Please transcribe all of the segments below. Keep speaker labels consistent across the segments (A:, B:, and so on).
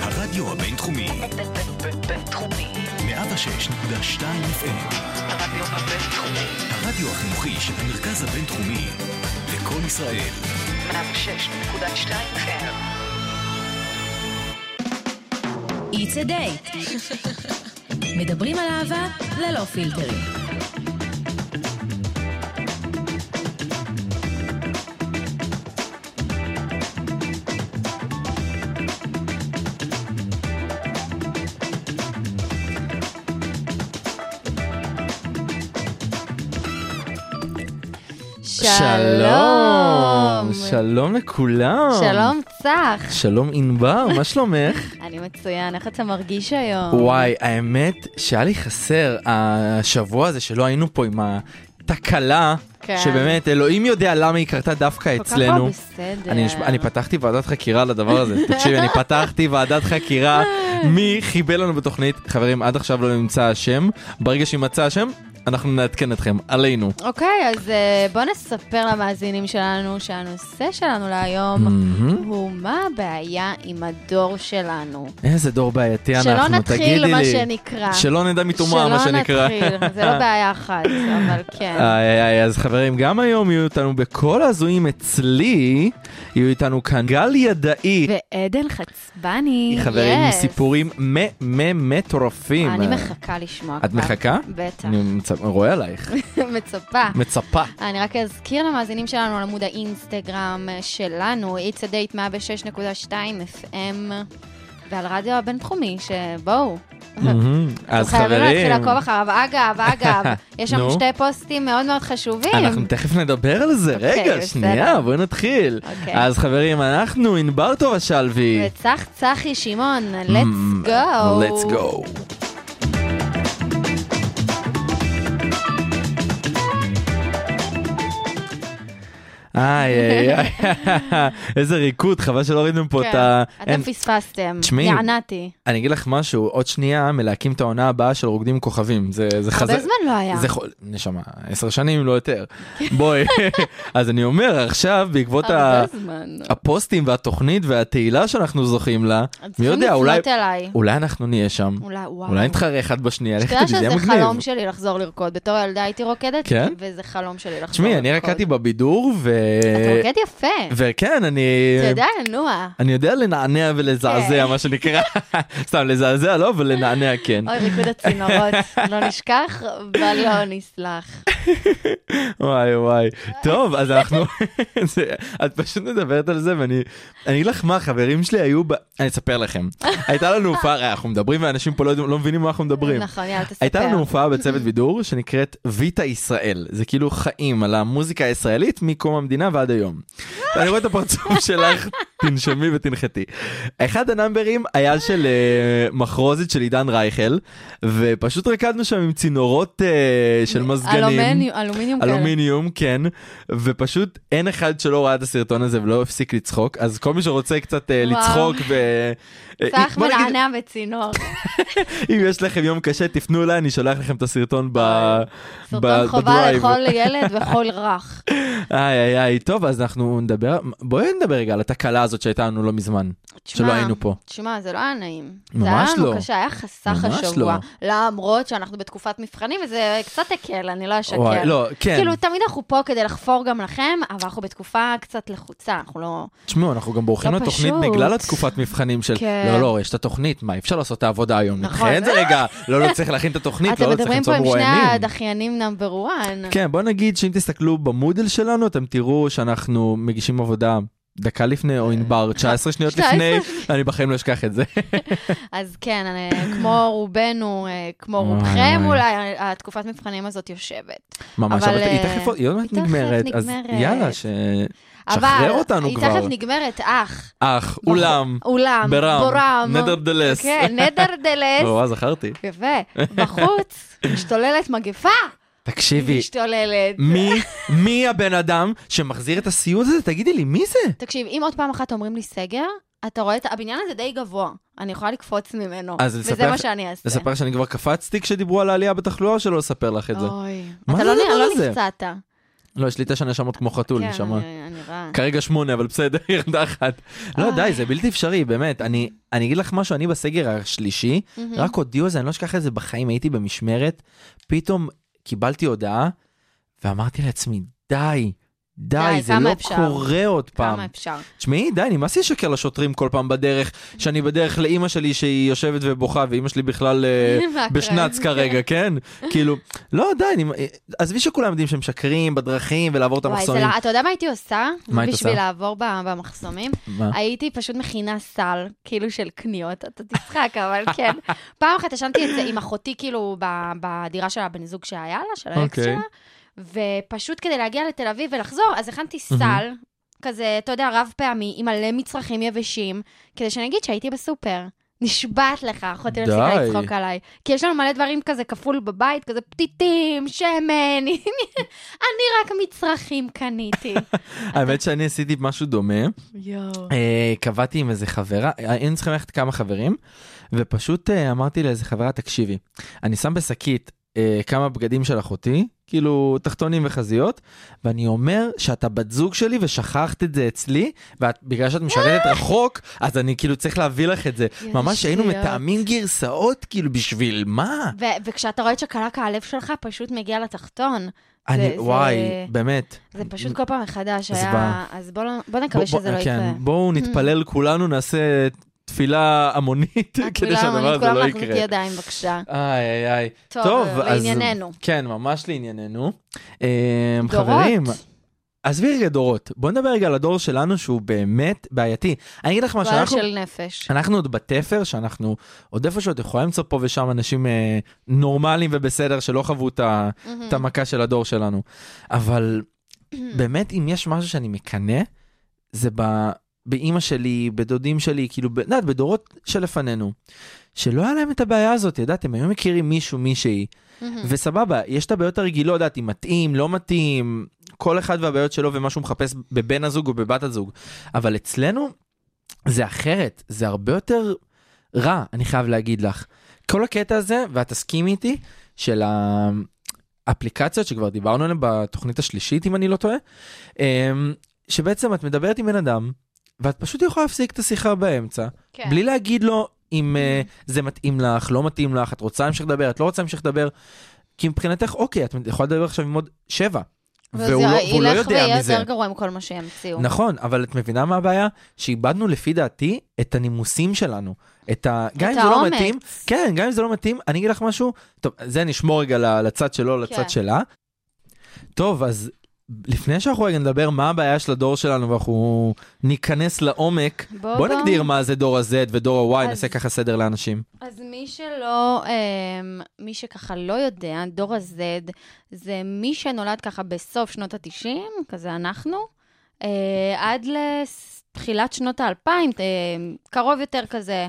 A: הרדיו הבינתחומי,
B: בינתחומי.
A: 106.2 FM,
B: הרדיו הבינתחומי.
A: הרדיו החינוכי של המרכז הבינתחומי, לקום ישראל,
B: 106.2 FM.
C: It's a date. מדברים על אהבה ללא פילטרים.
D: שלום, שלום לכולם.
E: שלום צח,
D: שלום ענבר, מה שלומך?
E: אני מצוין, איך אתה מרגיש היום?
D: וואי, האמת שהיה לי חסר השבוע הזה שלא היינו פה עם התקלה,
E: כן.
D: שבאמת אלוהים יודע למה היא קרתה דווקא
E: כל כך לא
D: אצלנו.
E: בסדר.
D: אני, נשבע- אני פתחתי ועדת חקירה לדבר הזה, תקשיבי, אני פתחתי ועדת חקירה, מי חיבל לנו בתוכנית? חברים, עד עכשיו לא נמצא השם, ברגע שיימצא השם, אנחנו נעדכן אתכם, עלינו.
E: אוקיי, אז אה, בוא נספר למאזינים שלנו שהנושא שלנו להיום
D: מהמם.
E: הוא מה הבעיה עם הדור שלנו.
D: איזה דור בעייתי
E: שלא
D: אנחנו, תגידי לי.
E: נתחיל, מה שנקרא.
D: שלא נדע מתומה, מה שנקרא. אה,
E: שלא נתחיל, זה לא בעיה אחת, אבל כן.
D: איי, איי, אז חברים, גם היום יהיו איתנו בכל הזויים אצלי, יהיו איתנו כאן גל ידעי.
C: ועדן חצבני.
D: היא חברים עם
E: yes.
D: סיפורים מטורפים.
E: אני מחכה לשמוע כבר.
D: את מחכה?
E: בטח,
D: אני מצ- רואה עלייך,
E: מצפה.
D: מצפה.
E: אני רק אזכיר למאזינים שלנו על עמוד האינסטגרם שלנו, It's a date 106.2 FM, ועל רדיו הבינתחומי, שבואו.
D: מהמם. אז
E: אתם חייבים להתחיל
D: חברים,
E: לעקוב אחריו. אגב, אגב, יש שם
D: נו.
E: שתי פוסטים מאוד מאוד חשובים.
D: אנחנו תכף נדבר על זה.
E: אוקיי,
D: רגע,
E: בסדר.
D: שנייה, בואי נתחיל.
E: אוקיי.
D: אז חברים, אנחנו ענבר טובה שלוי.
E: וצח צחי שמעון, let's go.
D: Mm, let's go. איי, איי, איי, איזה ריקוד, חבל שלא הורידנו פה את ה...
E: כן,
D: אין-
E: אתם פספסתם,
D: תשמעי,
E: יענתי.
D: אני אגיד לך משהו, עוד שנייה מלהקים את העונה הבאה של רוקדים עם כוכבים. זה זה חזק.
E: הרבה זמן לא היה. כן.
D: זה חול, נשמה, עשר שנים אם לא יותר. בואי, אז אני אומר, עכשיו, בעקבות ה-
E: הרבה זמן.
D: הפוסטים והתוכנית והתהילה שאנחנו זוכים לה, מי
E: צריכים
D: יודע, אולי
E: לפנות אליי.
D: אולי אנחנו נהיה שם.
E: אולי, וואו.
D: אולי נתחרה אחד בשנייה, לך
E: אתה יודע
D: תדעי, זה יהיה
E: שזה
D: מגניב.
E: חלום שלי לחזור לרקוד. בתור ילדה הייתי רוקדת,
D: כן?
E: וזה חלום שלי לחזור לרקוד.
D: תשמעי, אני רקדתי בבידור, ו...
E: אתה רוקד יפה.
D: וכן, אני...
E: אתה יודע לנוע.
D: אני יודע לנענע ולזעזע,
E: כן.
D: מה שנקרא. סתם, לזעזע לא, אבל לנענע כן.
E: אוי, ריקוד הצינורות, לא נשכח, בל לא נסלח.
D: וואי וואי. טוב, אז אנחנו... זה- את פשוט מדברת על זה, ואני... אני אגיד לך מה, חברים שלי היו ב... אני אספר לכם. הייתה לנו הופעה, אנחנו מדברים ואנשים פה לא יודעים- לא מבינים מה אנחנו מדברים.
E: נכון, יאללה, תספר.
D: הייתה לנו הופעה בצוות בידור שנקראת ויטה ישראל, זה כאילו חיים על המוזיקה הישראלית מקום המדינה ועד היום. אני רואה את הפרצוף שלך, תנשמי ותנחתי. אחד הנאמברים היה של אה, מחרוזת של עידן רייכל, ופשוט רקדנו שם עם צינורות אה, של מזגנים.
E: אלומיניום, אלומיניום כאלה.
D: אלומיניום, כן, ופשוט אין אחד שלא ראה את הסרטון הזה ולא הפסיק לצחוק, אז כל מי שרוצה קצת אה,
E: וואו.
D: לצחוק ו... אה,
E: צח
D: בוא נגיד-
E: מנענע בצינור.
D: אם יש לכם יום קשה, תפנו אליי, אני שולח לכם את הסרטון ב...
E: סרטון
D: ב-
E: חובה
D: בדרייב.
E: לכל ילד וכל רך.
D: איי איי איי, טוב, אז אנחנו נדבר, בואי נדבר רגע על התקלה הזאת שהייתה לנו לא מזמן,
E: תשמע,
D: שלא היינו פה.
E: תשמע, זה לא היה נעים.
D: ממש
E: זה היה
D: לא.
E: לנו קשה, היה חסך
D: ממש לא.
E: השבוע. למרות שאנחנו בתקופת מבחנים, וזה קצת הקל, אני לא אשקר.
D: וואי, לא, כן,
E: כאילו, תמיד אנחנו פה כדי לחפור גם לכם, אבל אנחנו בתקופה קצת לחוצה, אנחנו לא...
D: תשמעו, אנחנו גם בורחים
E: לא
D: לתוכנית
E: פשוט.
D: בגלל התקופת מבחנים של,
E: כן.
D: לא, לא, יש את התוכנית, מה, אי אפשר לעשות את העבודה היום,
E: נכון.
D: נדחה את זה רגע, לא, לא צריך להכין את התוכנית,
E: אתם
D: לא, לא צריך
E: מדברים פה
D: למצוא
E: עם שני
D: מרואיינים.
E: הדחיינים נאמבר 1.
D: כן, בוא נגיד שאם תסתכלו במודל שלנו, אתם תראו שאנחנו מגישים עבודה דקה לפני, או
E: אה,
D: ענבר, 19 שניות
E: 19.
D: לפני, אני בחיים לא אשכח את זה.
E: אז כן, אני- כמו רובנו, אה, כמו
D: וואי,
E: רובכם,
D: וואי.
E: אולי התקופת מבחנים הזאת יושבת.
D: ממש,
E: אבל,
D: אבל היא
E: אה,
D: תכף, היא עוד מעט
E: היא תכף
D: נגמרת, אז
E: נגמרת.
D: יאללה,
E: אבל
D: שחרר אותנו
E: היא
D: כבר.
E: תכף נגמרת, אח.
D: אך, אולם,
E: אולם.
D: ברם,
E: בורם.
D: נדר דלס.
E: כן, נדר דלס.
D: או, זכרתי.
E: יפה. בחוץ, משתוללת מגפה.
D: תקשיבי,
E: משתוללת.
D: מי, מי הבן אדם שמחזיר את הסיוט הזה? תגידי לי, מי זה?
E: תקשיב, אם עוד פעם אחת אומרים לי סגר, אתה רואה את הבניין הזה די גבוה. אני יכולה לקפוץ ממנו.
D: אז
E: וזה
D: לספר-
E: מה שאני אעשה.
D: לספר שאני
E: אוקיי.
D: כבר קפצתי כשדיברו על העלייה בתחלואה, שלא לספר לך את זה.
E: אוי.
D: מה
E: אתה
D: זה
E: לא
D: הדבר
E: לא
D: הזה?
E: נפצעת.
D: לא, יש לי תשע נשמות כמו חתול,
E: כן,
D: נשמה.
E: אני- אני רע.
D: כרגע שמונה, אבל בסדר, ירדה אחת. לא, די, זה בלתי אפשרי, באמת. אני אני אגיד לך משהו, אני בסגר השלישי,
E: Mm.
D: רק הודיעו על זה, אני לא אשכח את זה בחיים, הייתי במשמרת, פתאום קיבלתי הודעה, ואמרתי לעצמי, די, די,
E: די,
D: זה
E: כמה
D: לא
E: אפשר?
D: קורה עוד פעם.
E: כמה אפשר?
D: תשמעי, די, נמאס לי לשקר לשוטרים כל פעם בדרך, שאני בדרך לאימא שלי שהיא יושבת ובוכה, ואימא שלי בכלל אה,
E: מהקרב.
D: בשנץ כרגע, כן? כאילו, לא, די, אני- אה, עזבי שכולם יודעים שהם משקרים בדרכים ולעבור את
E: וואי, זה
D: המחסומים.
E: לה- אתה יודע מה הייתי עושה?
D: מה היית
E: בשביל
D: עושה?
E: לעבור ב- במחסומים?
D: מה?
E: הייתי פשוט מכינה סל, כאילו של קניות, אתה תצחק, אבל כן. פעם אחת ישנתי את זה עם אחותי, כאילו, ב- בדירה של הבן זוג שהיה לה, של האקס
D: אוקיי.
E: שלה, ופשוט כדי להגיע לתל אביב ולחזור, אז הכנתי סל, כזה, אתה יודע, רב פעמי, עם מלא מצרכים יבשים, כדי שאני אגיד שהייתי בסופר. נשבעת לך, אחותי לא
D: די.
E: הפסיקה לצחוק עליי. כי יש לנו מלא דברים כזה כפול בבית, כזה פתיתים, שמן, אני רק מצרכים קניתי.
D: האמת שאני עשיתי משהו דומה,
E: יואו.
D: אה, קבעתי עם איזה חברה, אה, היינו צריכים ללכת כמה חברים, ופשוט אה, אמרתי לאיזה חברה, תקשיבי, אני שם בשקית אה, כמה בגדים של אחותי, כאילו תחתונים וחזיות, ואני אומר שאתה בת זוג שלי ושכחת את זה אצלי, ובגלל שאת משרתת רחוק, אז אני כאילו צריך להביא לך את זה.
E: אה! איזה
D: ממש היינו
E: שטויות.
D: מתאמים גרסאות, כאילו בשביל מה?
E: ו- וכשאתה רואה את שקלק הלב שלך פשוט מגיע לתחתון,
D: אני,
E: זה-
D: וואי, באמת.
E: זה פשוט כל פעם מחדש
D: אז
E: היה...
D: בא-
E: אז בוא לא- בוא נקווה
D: בוא- בוא-
E: שזה לא
D: כן,
E: יקרה.
D: בואו נתפלל כולנו, נעשה תפילה המונית, כדי שהדבר הזה לא
E: כולם
D: יקרה.
E: ידיים, בבקשה.
D: איי איי איי.
E: טוב, אה,
D: טוב, אז...
E: לענייננו.
D: כן, ממש לענייננו. אמ,
E: דורות.
D: חברים, עזבי רגע דורות. בוא נדבר רגע על הדור שלנו שהוא באמת בעייתי. אני אגיד לך מה
E: גועל
D: שאנחנו... כן.
E: של נפש.
D: אנחנו עוד בתפר, שאנחנו עוד איפשהו, את יכולה למצוא פה ושם אנשים אה, נורמליים ובסדר, שלא חוו את ה-
E: Mm.
D: את המכה של הדור שלנו. אבל באמת, אם יש משהו שאני מקנא, זה ב... באימא שלי, בדודים שלי, כאילו, ב- את יודעת, בדורות שלפנינו, שלא היה להם את הבעיה הזאת, את יודעת, הם היו מכירים מישהו, מישהי, וסבבה, יש את הבעיות הרגילות, את יודעת, אם מתאים, לא מתאים, כל אחד והבעיות שלו ומה שהוא מחפש בבן הזוג או בבת הזוג. אבל אצלנו זה אחרת, זה הרבה יותר רע, אני חייב להגיד לך. כל הקטע הזה, ואת תסכימי איתי, של האפליקציות שכבר דיברנו עליהן בתוכנית השלישית, אם אני לא טועה, אמ, שבעצם את מדברת עם בן אדם, ואת פשוט יכולה להפסיק את השיחה באמצע,
E: כן. Mm-hmm.
D: בלי להגיד לו אם אה, זה מתאים לך, לא מתאים לך, את רוצה להמשיך לדבר, את לא רוצה להמשיך לדבר, כי מבחינתך, אוקיי, את יכולה לדבר עכשיו עם עוד שבע.
E: וזה
D: והוא לא- והוא לא
E: ילך
D: יודע
E: ויהיה
D: מזה.
E: יותר גרוע עם כל מה שימציאו.
D: נכון, אבל את מבינה מה הבעיה? שאיבדנו לפי דעתי את הנימוסים שלנו. את ה... גם אם זה לא
E: האומץ.
D: מתאים, כן, גם אם זה לא מתאים, אני אגיד לך משהו, טוב, זה נשמור רגע ל- לצד שלו, לצד
E: כן.
D: שלה. טוב, אז לפני שאנחנו רגע נדבר מה הבעיה של הדור שלנו ואנחנו ניכנס לעומק,
E: בוא,
D: בוא
E: בוא.
D: נגדיר מה זה דור ה-Z ודור ה-Y,
E: אוקיי. אז-
D: נעשה ככה סדר לאנשים.
E: אז מי שלא, אמ, מי שככה לא יודע, דור ה-Z זה מי שנולד ככה בסוף שנות ה-90, כזה אנחנו, אה, עד לתחילת שנות ה-2000, קרוב יותר כזה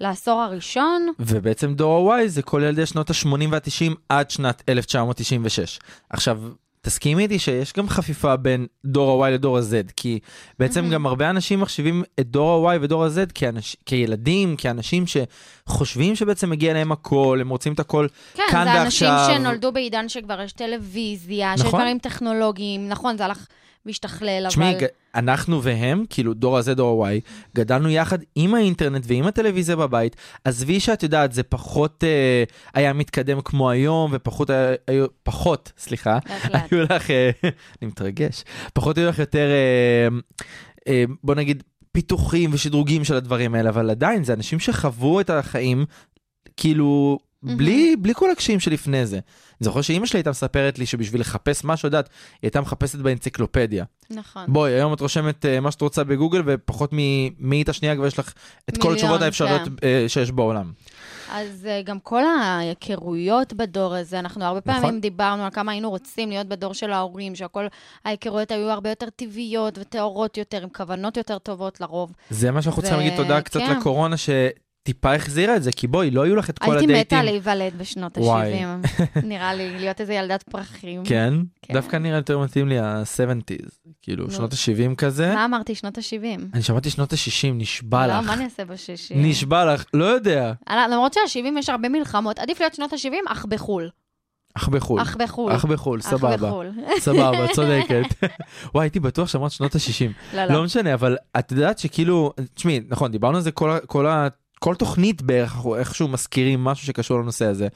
E: לעשור הראשון.
D: ובעצם דור ה-Y זה כל ילדי שנות ה-80 וה-90 עד שנת 1996. עכשיו, תסכימי איתי שיש גם חפיפה בין דור ה-Y לדור ה-Z, כי בעצם גם הרבה אנשים מחשיבים את דור ה-Y ודור ה-Z כאנש... כילדים, כאנשים שחושבים שבעצם מגיע להם הכל, הם רוצים את הכל
E: כן,
D: כאן
E: זה אנשים
D: ועכשיו.
E: שנולדו בעידן שכבר יש טלוויזיה, שיש
D: נכון.
E: דברים טכנולוגיים, נכון, זה הלך והשתכלל,
D: תשמעי,
E: אבל...
D: ג- אנחנו והם, כאילו דור הזה, דור ה-Y, גדלנו יחד עם האינטרנט ועם הטלוויזיה בבית. עזבי שאת יודעת, זה פחות אה, היה מתקדם כמו היום, ופחות היה, היו, פחות, סליחה,
E: בהחלט.
D: היו לך, אה, אני מתרגש, פחות היו לך יותר, אה, אה, בוא נגיד, פיתוחים ושדרוגים של הדברים האלה, אבל עדיין זה אנשים שחוו את החיים, כאילו, בלי, בלי כל הקשיים שלפני זה. אני זוכר שאימא שלי הייתה מספרת לי שבשביל לחפש משהו, את יודעת, היא הייתה מחפשת באנציקלופדיה.
E: נכון.
D: בואי, היום את רושמת אה, מה שאת רוצה בגוגל, ופחות ממאית השנייה כבר יש לך את כל
E: מיליון,
D: התשובות האפשריות
E: כן.
D: אה, שיש בעולם.
E: אז אה, גם כל ההיכרויות בדור הזה, אנחנו הרבה
D: נכון.
E: פעמים דיברנו על כמה היינו רוצים להיות בדור של ההורים, שהכל, ההיכרויות היו הרבה יותר טבעיות וטהורות יותר, עם כוונות יותר טובות לרוב.
D: זה מה שאנחנו
E: זה-
D: צריכים להגיד תודה קצת
E: כן.
D: לקורונה, טיפה החזירה את זה, כי בואי, לא היו לך את כל
E: הייתי
D: הדייטים.
E: מתה להיוולד בשנות
D: וואי.
E: ה-70, נראה לי, להיות איזה ילדת פרחים.
D: כן?
E: כן.
D: דווקא נראה יותר מתאים לי ה-70's, כאילו
E: נו.
D: שנות ה-70 כזה.
E: מה אמרתי, שנות ה-70?
D: אני שמעתי שנות ה-60, נשבע
E: לא,
D: לך.
E: מה אני אעשה בשישים?
D: נשבע לך, לא יודע.
E: למרות שה-70 יש הרבה מלחמות, עדיף להיות שנות ה-70, אך בחו"ל.
D: אח בחו"ל.
E: אח בחו"ל.
D: אח בחו"ל,
E: אח
D: סבבה.
E: בחו"ל.
D: סבבה, צודקת. וואי, הייתי בטוח שאמרת שנות ה-60.
E: לא, לא.
D: לא משנה, אבל את יודעת שכאילו, תשמעי, נכון, דיברנו על זה כל ה- כל ה... כל תוכנית בערך אנחנו איכשהו מזכירים משהו שקשור לנושא הזה.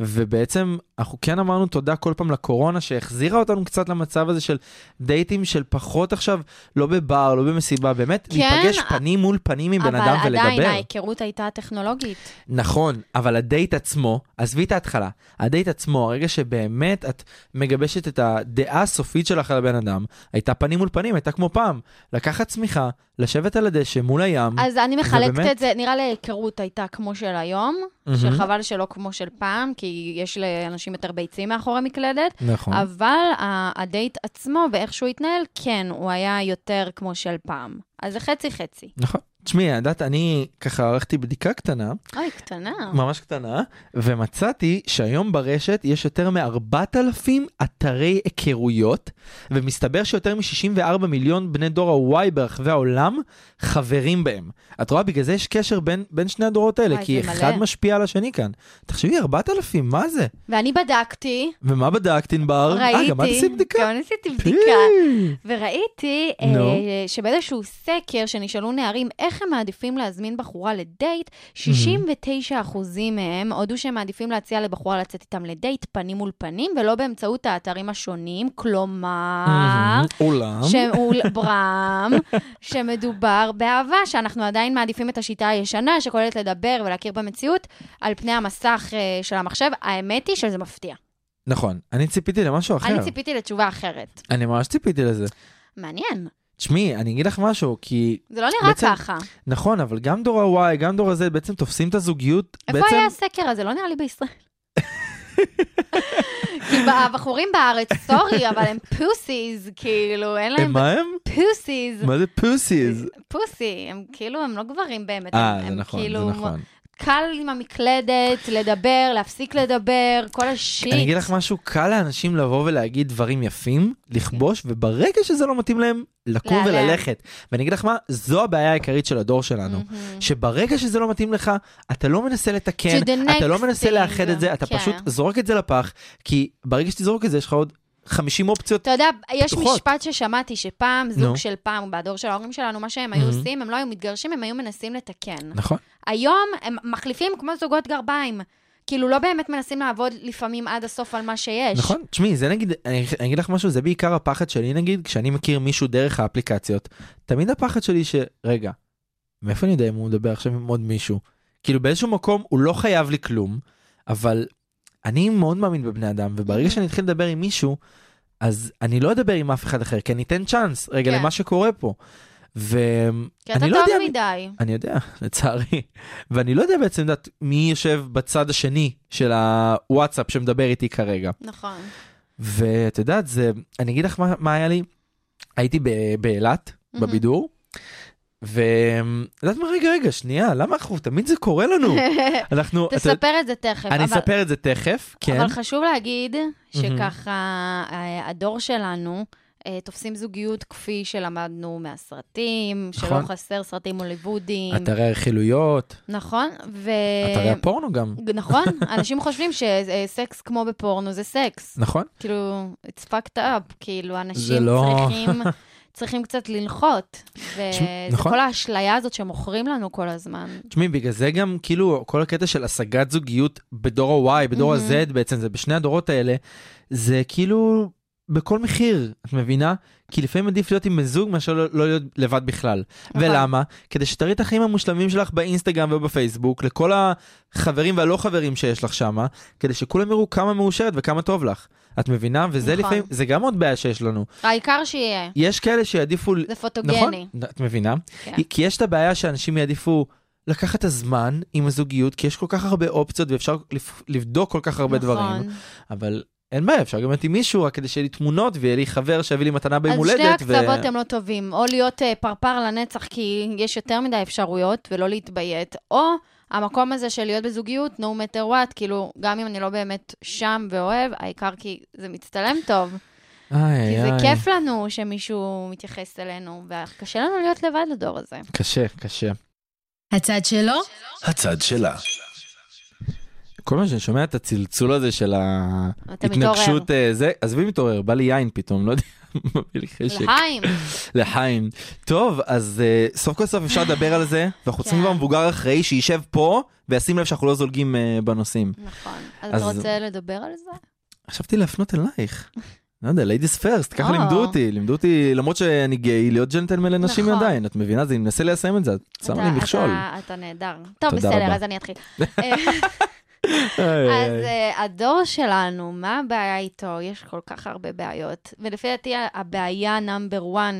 D: ובעצם אנחנו כן אמרנו תודה כל פעם לקורונה שהחזירה אותנו קצת למצב הזה של דייטים של פחות עכשיו, לא בבר, לא במסיבה, באמת,
E: כן,
D: להיפגש
E: א-
D: פנים מול פנים עם בן אדם ולדבר.
E: אבל עדיין ההיכרות הייתה טכנולוגית.
D: נכון, אבל הדייט עצמו, עזבי את ההתחלה, הדייט עצמו, הרגע שבאמת את מגבשת את הדעה הסופית שלך על הבן אדם, הייתה פנים מול פנים, הייתה כמו פעם. לקחת צמיחה, לשבת על הדשא מול הים,
E: אז אני מחלקת
D: ובאמת-
E: את זה, נראה לי ההיכרות הייתה כמו של היום,
D: מהמם.
E: שחבל שלא כמו של פעם, כי יש לאנשים יותר ביצים מאחורי מקלדת,
D: נכון.
E: אבל ה- הדייט עצמו ואיך שהוא התנהל, כן, הוא היה יותר כמו של פעם. אז זה חצי-חצי.
D: נכון. תשמעי, את יודעת, אני ככה ערכתי בדיקה קטנה,
E: אוי, קטנה.
D: ממש קטנה, ומצאתי שהיום ברשת יש יותר מ-4,000 אתרי היכרויות, ומסתבר שיותר מ-64 מיליון בני דור ה-Y ברחבי העולם חברים בהם. את רואה, בגלל זה יש קשר בין, בין שני הדורות האלה,
E: וואי,
D: כי
E: זה
D: אחד
E: מלא.
D: משפיע על השני כאן. תחשבי, 4,000, מה זה?
E: ואני בדקתי,
D: ומה בדקת, ענבר? אה,
E: ראיתי,
D: גם את עשית בדיקה?
E: גם אני עשיתי בדיקה,
D: פי!
E: וראיתי
D: נו.
E: אה, שבאיזשהו סקר שנשאלו נערים איך הם מעדיפים להזמין בחורה לדייט,
D: Mhm.
E: 69 אחוזים מהם הודו שהם מעדיפים להציע לבחורה לצאת איתם לדייט פנים מול פנים, ולא באמצעות האתרים השונים, כלומר...
D: Mhm, עולם.
E: שאול ברם, שמדובר באהבה, שאנחנו עדיין מעדיפים את השיטה הישנה, שכוללת לדבר ולהכיר במציאות, על פני המסך אה, של המחשב. האמת היא שזה מפתיע.
D: נכון, אני ציפיתי למשהו אחר.
E: אני ציפיתי לתשובה אחרת.
D: אני ממש ציפיתי לזה.
E: מעניין,
D: תשמעי, אני אגיד לך משהו, כי
E: זה לא נראה
D: בעצם-
E: ככה.
D: נכון, אבל גם דור ה-Y, גם דור הזה, בעצם תופסים את הזוגיות.
E: איפה
D: בעצם...
E: היה הסקר הזה? לא נראה לי בישראל. כי הבחורים בארץ, סורי, אבל הם פוסיז, כאילו, אין
D: הם
E: להם
D: מה הם?
E: פוסיז.
D: מה זה פוסיז?
E: פוסי, הם כאילו, הם לא גברים באמת.
D: אה,
E: הם-
D: זה
E: הם
D: נכון,
E: כאילו,
D: זה נכון.
E: קל עם המקלדת, לדבר, להפסיק לדבר, כל השיט.
D: אני אגיד לך משהו, קל לאנשים לבוא ולהגיד דברים יפים, לכבוש,
E: כן.
D: וברגע שזה לא מתאים להם, לקום
E: להיעלם.
D: וללכת. ואני אגיד לך מה, זו הבעיה העיקרית של הדור שלנו.
E: מהמם.
D: שברגע שזה לא מתאים לך, אתה לא מנסה לתקן,
E: To the
D: אתה לא
E: next
D: מנסה לאחד
E: thing.
D: את זה, אתה
E: כן.
D: פשוט זורק את זה לפח, כי ברגע שתזרוק את זה, יש לך עוד 50 אופציות.
E: אתה יודע, יש
D: פתוחות.
E: משפט ששמעתי, שפעם,
D: נו.
E: זוג של פעם, בדור של ההורים שלנו, מה שהם היו
D: מהמם.
E: עושים, הם לא היו מתגרשים, הם היו מנסים לתקן.
D: נכון.
E: היום הם מחליפים כמו זוגות גרביים. כאילו, לא באמת מנסים לעבוד לפעמים עד הסוף על מה שיש.
D: נכון, תשמעי, זה נגיד, אני אני אגיד לך משהו, זה בעיקר הפחד שלי נגיד, כשאני מכיר מישהו דרך האפליקציות, תמיד הפחד שלי שרגע, מאיפה אני יודע אם הוא מדבר עכשיו עם עוד מישהו? כאילו באיזשהו מקום הוא לא חייב לי כלום, אבל אני מאוד מאמין בבני אדם, וברגע שאני אתחיל לדבר עם מישהו, אז אני לא אדבר עם אף אחד אחר, כי אני אתן צ'אנס רגע
E: כן.
D: למה שקורה פה.
E: כי אתה
D: ואני לא
E: טוב
D: יודע, מי-
E: מדי.
D: אני יודע, לצערי. ואני לא יודע בעצם לדעת מי יושב בצד השני של הוואטסאפ שמדבר איתי כרגע.
E: נכון.
D: ואת יודעת, זה, אני אגיד לך מה, מה היה לי, הייתי ב- באילת,
E: מהמם.
D: בבידור, ואת יודעת מה, רגע, רגע, שנייה, למה אנחנו, תמיד זה קורה לנו. אנחנו, את-
E: תספר את זה תכף.
D: אני
E: אבל-
D: אספר את זה תכף, כן,
E: אבל חשוב להגיד שככה אה, הדור שלנו... אה, תופסים זוגיות כפי שלמדנו מהסרטים, שלא
D: נכון.
E: חסר סרטים הוליוודיים,
D: אתרי הרכילויות,
E: נכון? ו...
D: אתרי הפורנו גם,
E: נכון, אנשים חושבים שסקס כמו בפורנו זה סקס.
D: נכון?
E: כאילו, it's fucked up, כאילו,
D: זה
E: אנשים
D: לא-
E: צריכים, צריכים קצת לנחות. וזה
D: נכון.
E: כל האשליה הזאת שמוכרים לנו כל הזמן.
D: תשמעי, בגלל זה גם, כאילו, כל הקטע של השגת זוגיות בדור ה-Y, בדור ה-Z בעצם, זה בשני הדורות האלה, זה כאילו בכל מחיר, את מבינה? כי לפעמים עדיף להיות עם בן זוג מאשר לא- לא להיות לבד בכלל.
E: נכון.
D: ולמה? כדי שתראי את החיים המושלמים שלך באינסטגרם ובפייסבוק, לכל החברים והלא חברים שיש לך שמה, כדי שכולם יראו כמה מאושרת וכמה טוב לך. את מבינה? וזה
E: נכון.
D: לפעמים, זה גם עוד בעיה שיש לנו.
E: העיקר שיהיה,
D: יש כאלה שיעדיפו
E: זה
D: נכון,
E: פוטוגני.
D: את מבינה?
E: כן.
D: כי יש את הבעיה שאנשים יעדיפו לקחת את הזמן עם הזוגיות, כי יש כל כך הרבה אופציות ואפשר לפ- לבדוק כל כך הרבה
E: נכון.
D: דברים, אבל אין בעיה, אפשר גם להיות עם מישהו רק כדי שיהיה לי תמונות ויהיה לי חבר שיביא לי מתנה ביום הולדת.
E: אז שני הקצוות הם לא טובים, או להיות אה, פרפר לנצח כי יש יותר מדי אפשרויות ולא להתביית, או המקום הזה של להיות בזוגיות, no matter what, כאילו, גם אם אני לא באמת שם ואוהב, העיקר כי זה מצטלם טוב.
D: איי,
E: כי זה
D: איי.
E: כיף לנו שמישהו מתייחס אלינו, וקשה לנו להיות לבד לדור הזה.
D: קשה, קשה.
C: הצד שלו
A: הצד שלה.
D: כל מה שאני שומע את הצלצול הזה של
E: אתה
D: ההתנגשות אה, זה, עזבי מתעורר, בא לי יין פתאום, לא יודע, מביא לי חשק.
E: לחיים.
D: לחיים. טוב, אז אה, סוף כל סוף אפשר לדבר על זה, ואנחנו צריכים
E: כן.
D: כבר מבוגר אחראי שישב פה וישים לב שאנחנו לא זולגים אה, בנושאים.
E: נכון. אז אתה
D: אז-
E: רוצה לדבר על זה?
D: חשבתי להפנות אלייך. לא יודע, ladies first, ככה
E: או.
D: לימדו אותי, לימדו אותי, למרות שאני גיי, להיות ג'נטלמן לנשים
E: נכון.
D: עדיין, את מבינה? אז אני מנסה ליישם את זה, את
E: אתה-
D: שמה לי מכשול.
E: אתה- אתה נהדר. טוב,
D: תודה
E: בסדר,
D: רבה.
E: אז אני אתחיל. אה,
D: איי,
E: אז
D: איי.
E: אה, הדור שלנו, מה הבעיה איתו? יש כל כך הרבה בעיות. ולפי דעתי, הבעיה נאמבר 1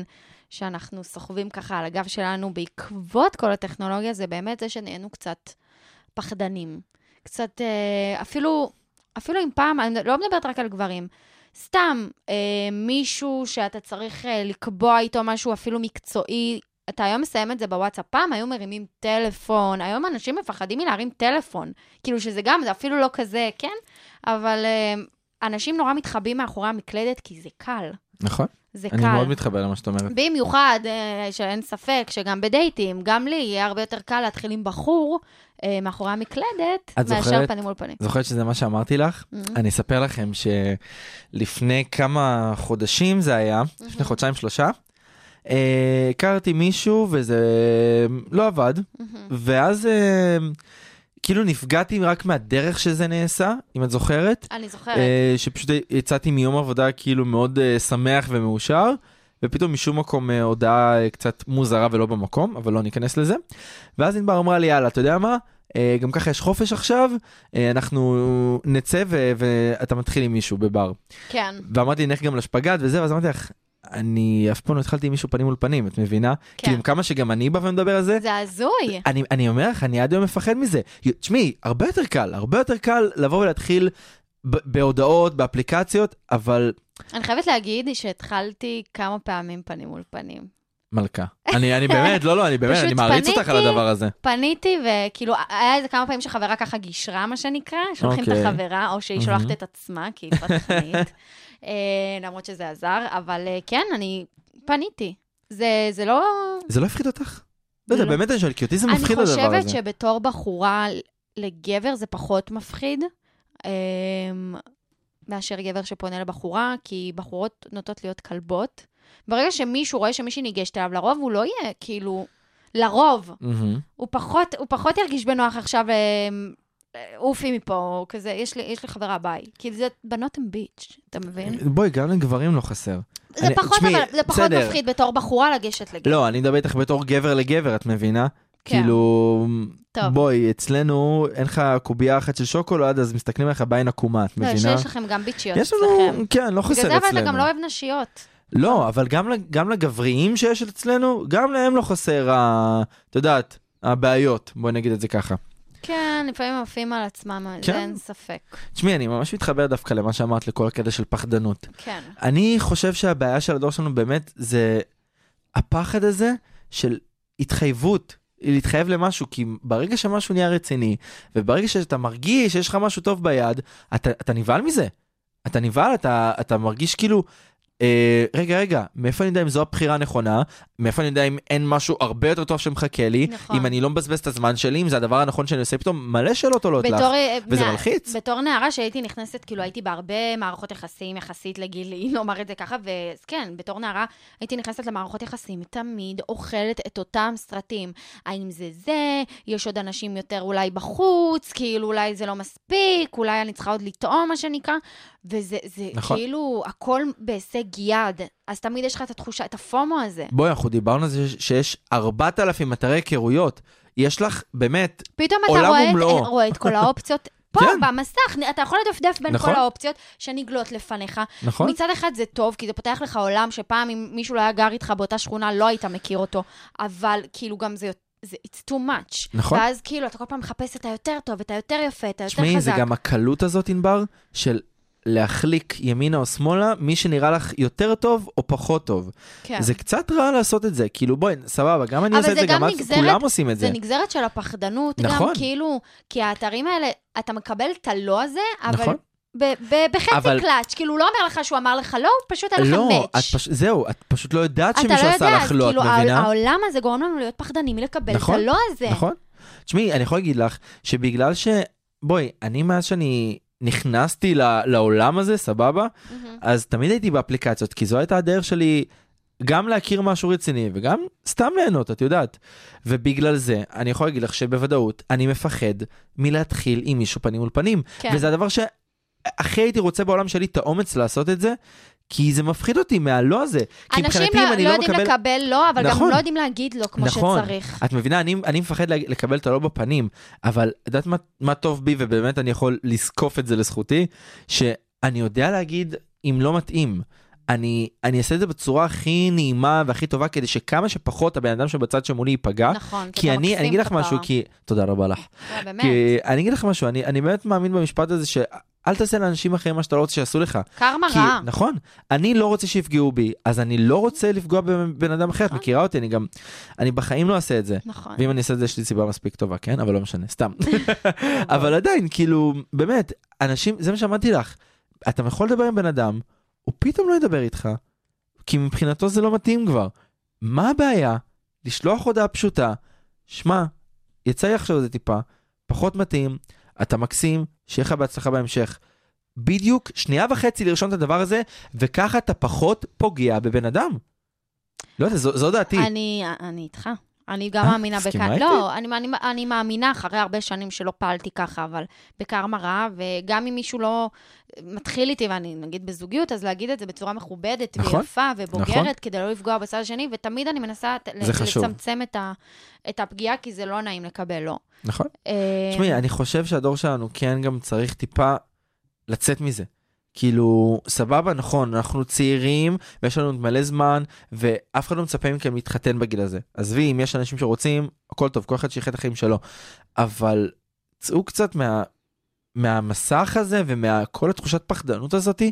E: שאנחנו סוחבים ככה על הגב שלנו בעקבות כל הטכנולוגיה, זה באמת זה שנהיינו קצת פחדנים. קצת, אה, אפילו, אפילו אם פעם, אני לא מדברת רק על גברים, סתם אה, מישהו שאתה צריך אה, לקבוע איתו משהו אפילו מקצועי. אתה היום מסיים את זה בוואטסאפ, פעם היו מרימים טלפון, היום אנשים מפחדים מלהרים טלפון. כאילו שזה גם, זה אפילו לא כזה, כן? אבל אה, אנשים נורא מתחבאים מאחורי המקלדת, כי זה קל.
D: נכון,
E: זה
D: אני
E: קל.
D: מאוד מתחבר למה שאת אומרת.
E: במיוחד, אה, שאין ספק, שגם בדייטים, גם לי יהיה הרבה יותר קל להתחיל עם בחור אה, מאחורי המקלדת,
D: את
E: מאשר
D: זוכרת?
E: פנים מול פנים.
D: זוכרת שזה מה שאמרתי
E: Mm.
D: לך? אני אספר לכם שלפני כמה חודשים זה היה, לפני חודשיים שלושה, אה, הכרתי מישהו וזה לא עבד, ואז אה, כאילו נפגעתי רק מהדרך שזה נעשה, אם את זוכרת,
E: אני זוכרת.
D: אה, שפשוט יצאתי מיום עבודה כאילו מאוד אה, שמח ומאושר. ופתאום משום מקום אה, הודעה אה, קצת מוזרה ולא במקום, אבל לא ניכנס לזה. ואז ענבר אמרה לי, יאללה, אתה יודע מה? אה, גם ככה יש חופש עכשיו, אה, אנחנו נצא ו- ואתה מתחיל עם מישהו בבר.
E: כן.
D: ואמרתי, נלך גם לשפגאט וזה, ואז אמרתי לך, אני אף פעם לא התחלתי עם מישהו פנים מול פנים, את מבינה?
E: כן.
D: כאילו, עם כמה שגם אני בא ומדבר על זה,
E: זה הזוי.
D: אני, אני אומר לך, אני עד היום מפחד מזה. תשמעי, הרבה יותר קל, הרבה יותר קל לבוא ולהתחיל ב- בהודעות, באפליקציות, אבל
E: אני חייבת להגיד שהתחלתי כמה פעמים פנים מול פנים.
D: מלכה. אני, אני באמת, לא, לא, אני באמת,
E: פשוט
D: אני מעריץ אותך על
E: פניתי.
D: הדבר הזה.
E: פניתי, וכאילו, היה איזה כמה פעמים שחברה ככה גישרה, מה שנקרא, שולחים okay. את
D: אוקיי.
E: החברה, או שהיא
D: מהמם.
E: שולחת את עצמה, כי היא פתחנית, אה, למרות שזה עזר, אבל אה, כן, אני פניתי. זה, זה לא...
D: זה לא הפחיד אותך? לא יודע,
E: לא.
D: באמת אני שואל, כי אותי זה
E: אני
D: מפחיד הדבר הזה.
E: חושבת שבתור בחורה לגבר זה פחות מפחיד, אה, מאשר גבר שפונה לבחורה, כי בחורות נוטות להיות כלבות. ברגע שמישהו רואה שמישהי ניגשת אליו, לרוב הוא לא יהיה, כאילו, לרוב,
D: מהמם.
E: הוא פחות, הוא פחות ירגיש בנוח עכשיו, אה, אה, עופי מפה, או כזה, יש לי, יש לי חברה ביי. כאילו, זה בנות הן ביץ', אתה מבין?
D: בואי, גם לגברים לא חסר.
E: זה
D: אני-
E: פחות,
D: תשמעי,
E: אבל, זה פחות
D: בסדר.
E: מפחיד בתור בחורה לגשת לגבר.
D: לא, אני מדבר איתך בתור גבר לגבר, את מבינה?
E: כן.
D: כאילו,
E: טוב.
D: בואי, אצלנו אין לך קובייה אחת של שוקולד, אז מסתכלים עליך בעין עקומה, את
E: לא,
D: מבינה?
E: שיש לכם גם ביצ'יות
D: יש לנו,
E: אצלכם.
D: כן, לא חסר
E: בגלל
D: אצלנו.
E: זה, אבל אתה גם לא אוהב נשיות.
D: לא, אבל גם, לג- גם לגבריים שיש אצלנו, גם להם לא חסר, ה- את יודעת, הבעיות, בואי נגיד את זה ככה.
E: כן, לפעמים הם עפים על עצמם,
D: כן.
E: זה אין ספק.
D: תשמעי, אני ממש מתחבר דווקא למה שאמרת, לכל הקטע של פחדנות.
E: כן.
D: אני חושב שהבעיה של הדור שלנו באמת זה הפחד הזה של התחייבות. להתחייב למשהו, כי ברגע שמשהו נהיה רציני, וברגע שאתה מרגיש שיש לך משהו טוב ביד, אתה, אתה נבהל מזה. אתה נבהל, אתה, אתה מרגיש כאילו, אה, רגע, רגע, מאיפה אני יודע אם זו הבחירה הנכונה? מאיפה אני יודע אם אין משהו הרבה יותר טוב שמחכה לי?
E: נכון.
D: אם אני לא מבזבז את הזמן שלי, אם זה הדבר הנכון שאני עושה, פתאום מלא שאלות עולות לך.
E: בתור, אה,
D: וזה
E: נע-
D: מלחיץ.
E: בתור נערה שהייתי נכנסת, כאילו הייתי בהרבה מערכות יחסים יחסית לגילי, נאמר את זה ככה, ואז כן, בתור נערה הייתי נכנסת למערכות יחסים, תמיד אוכלת את אותם סרטים. האם זה זה, יש עוד אנשים יותר אולי בחוץ, כאילו אולי זה לא מספיק, אולי אני צריכה עוד לטעום, מה שנקרא, וזה זה
D: נכון.
E: כאילו הכל בהישג יד. אז תמיד יש לך את התחושה, את הפומו הזה.
D: בואי, אנחנו דיברנו על זה ש- שיש 4,000 אתרי היכרויות. יש לך, באמת,
E: פתאום אתה
D: עולם
E: רואה, את,
D: ומלואו.
E: רואה את כל האופציות. פה,
D: כן.
E: במסך, אתה יכול לדפדף בין
D: נכון.
E: כל האופציות שנגלות לפניך.
D: נכון?
E: מצד אחד זה טוב, כי זה פותח לך עולם שפעם אם מישהו לא היה גר איתך באותה שכונה, לא היית מכיר אותו, אבל כאילו גם זה... זה it's too much.
D: נכון.
E: ואז כאילו, אתה כל פעם מחפש את היותר טוב, את היותר יפה, את היותר חזק.
D: תשמעי, זה גם הקלות הזאת, ענבר, של להחליק ימינה או שמאלה, מי שנראה לך יותר טוב או פחות טוב.
E: כן.
D: זה קצת רע לעשות את זה, כאילו בואי, סבבה, גם אני
E: אבל
D: עושה את
E: זה
D: זה,
E: גם
D: גם את,
E: נגזרת-
D: כולם עושים את
E: זה
D: זה.
E: נגזרת של הפחדנות גם,
D: נכון.
E: כאילו, כי האתרים האלה, אתה מקבל את הלא הזה, אבל
D: נכון.
E: ב- ב- בחצי
D: אבל-
E: קלאץ', כאילו, הוא לא אומר לך שהוא אמר לך לא, הוא פשוט היה לך
D: לא,
E: מאץ'.
D: את פשוט, זהו, את פשוט לא יודעת
E: אתה
D: שמישהו
E: לא
D: עשה
E: יודע,
D: לך לא, את
E: כאילו, העול-
D: מבינה?
E: העולם הזה גורם לנו להיות פחדנים מלקבל את
D: נכון,
E: הלא הזה.
D: נכון? תשמעי, אני יכול להגיד לך שבגלל ש... בואי, אני מאז שאני נכנסתי ל- לעולם הזה, סבבה? אז תמיד הייתי באפליקציות, כי זו הייתה הדרך שלי גם להכיר משהו רציני וגם סתם ליהנות, את יודעת. ובגלל זה, אני יכול להגיד לך שבוודאות, אני מפחד מלהתחיל עם מישהו פנים מול פנים.
E: כן.
D: וזה הדבר שהכי הייתי רוצה בעולם שלי את האומץ לעשות את זה, כי זה מפחיד אותי מהלא הזה. כי
E: אנשים
D: מבחינתי, אם
E: לא,
D: אני
E: לא
D: לא
E: יודעים
D: מקבל...
E: לקבל לא, אבל גם
D: נכון.
E: לא יודעים להגיד לא כמו שצריך.
D: את מבינה, אני, אני מפחד להג- לקבל את הלא בפנים, אבל את יודעת מה, מה טוב בי, ובאמת אני יכול לזקוף את זה לזכותי, שאני יודע להגיד אם לא מתאים. אני, אני אעשה את זה בצורה הכי נעימה והכי טובה, כדי שכמה שפחות הבן אדם שבצד שמולי ייפגע.
E: נכון, כי
D: כי
E: אתה
D: אני,
E: מקסים
D: אני אגיד לך
E: כפרה.
D: משהו, כי... תודה רבה לך.
E: לא, באמת,
D: כי, אני אגיד לך משהו, אני, אני באמת מאמין במשפט הזה שאל תעשה לאנשים אחרים מה שאתה לא רוצה שיעשו לך.
E: קרמה
D: כי,
E: רעה.
D: נכון, אני לא רוצה שיפגעו בי, אז אני לא רוצה לפגוע בבן אדם
E: אה.
D: אחר, את מכירה אותי, אני גם, אני בחיים לא אעשה את זה.
E: נכון.
D: ואם אני אעשה את זה, יש לי סיבה מספיק טובה, כן? אבל לא משנה, סתם. אבל עדיין, כאילו, באמת, אנשים, זה מה שאמרתי לך, אתה יכול לדבר עם בן אדם, הוא פתאום לא ידבר איתך, כי מבחינתו זה לא מתאים כבר. מה הבעיה לשלוח הודעה פשוטה, שמע, יצא לי עכשיו זה טיפה, פחות מתאים, אתה מקסים, שיהיה לך בהצלחה בהמשך. בדיוק שנייה וחצי לרשום את הדבר הזה, וככה אתה פחות פוגע בבן אדם. לא יודע, זו, זו דעתי.
E: אני, אני איתך. אני גם
D: אה,
E: מאמינה
D: מסכימה
E: בכאן.
D: איתי?
E: לא, אני, אני, אני מאמינה אחרי הרבה שנים שלא פעלתי ככה, אבל בקרמה רעה, וגם אם מישהו לא מתחיל איתי, ואני נגיד בזוגיות, אז להגיד את זה בצורה מכובדת
D: נכון,
E: ויפה ובוגרת,
D: נכון.
E: כדי לא לפגוע בצד השני, ותמיד אני מנסה ת-
D: זה חשוב.
E: לצמצם את, ה, את הפגיעה, כי זה לא נעים לקבל לא.
D: נכון.
E: אה,
D: תשמעי, אני חושב שהדור שלנו כן גם צריך טיפה לצאת מזה. כאילו, סבבה, נכון, אנחנו צעירים, ויש לנו עוד מלא זמן, ואף אחד לא מצפה מכם להתחתן בגיל הזה. עזבי, אם יש אנשים שרוצים, הכל טוב, כל אחד שיחיה את החיים שלו. אבל צאו קצת מה, מהמסך הזה ומכל התחושת פחדנות הזאתי,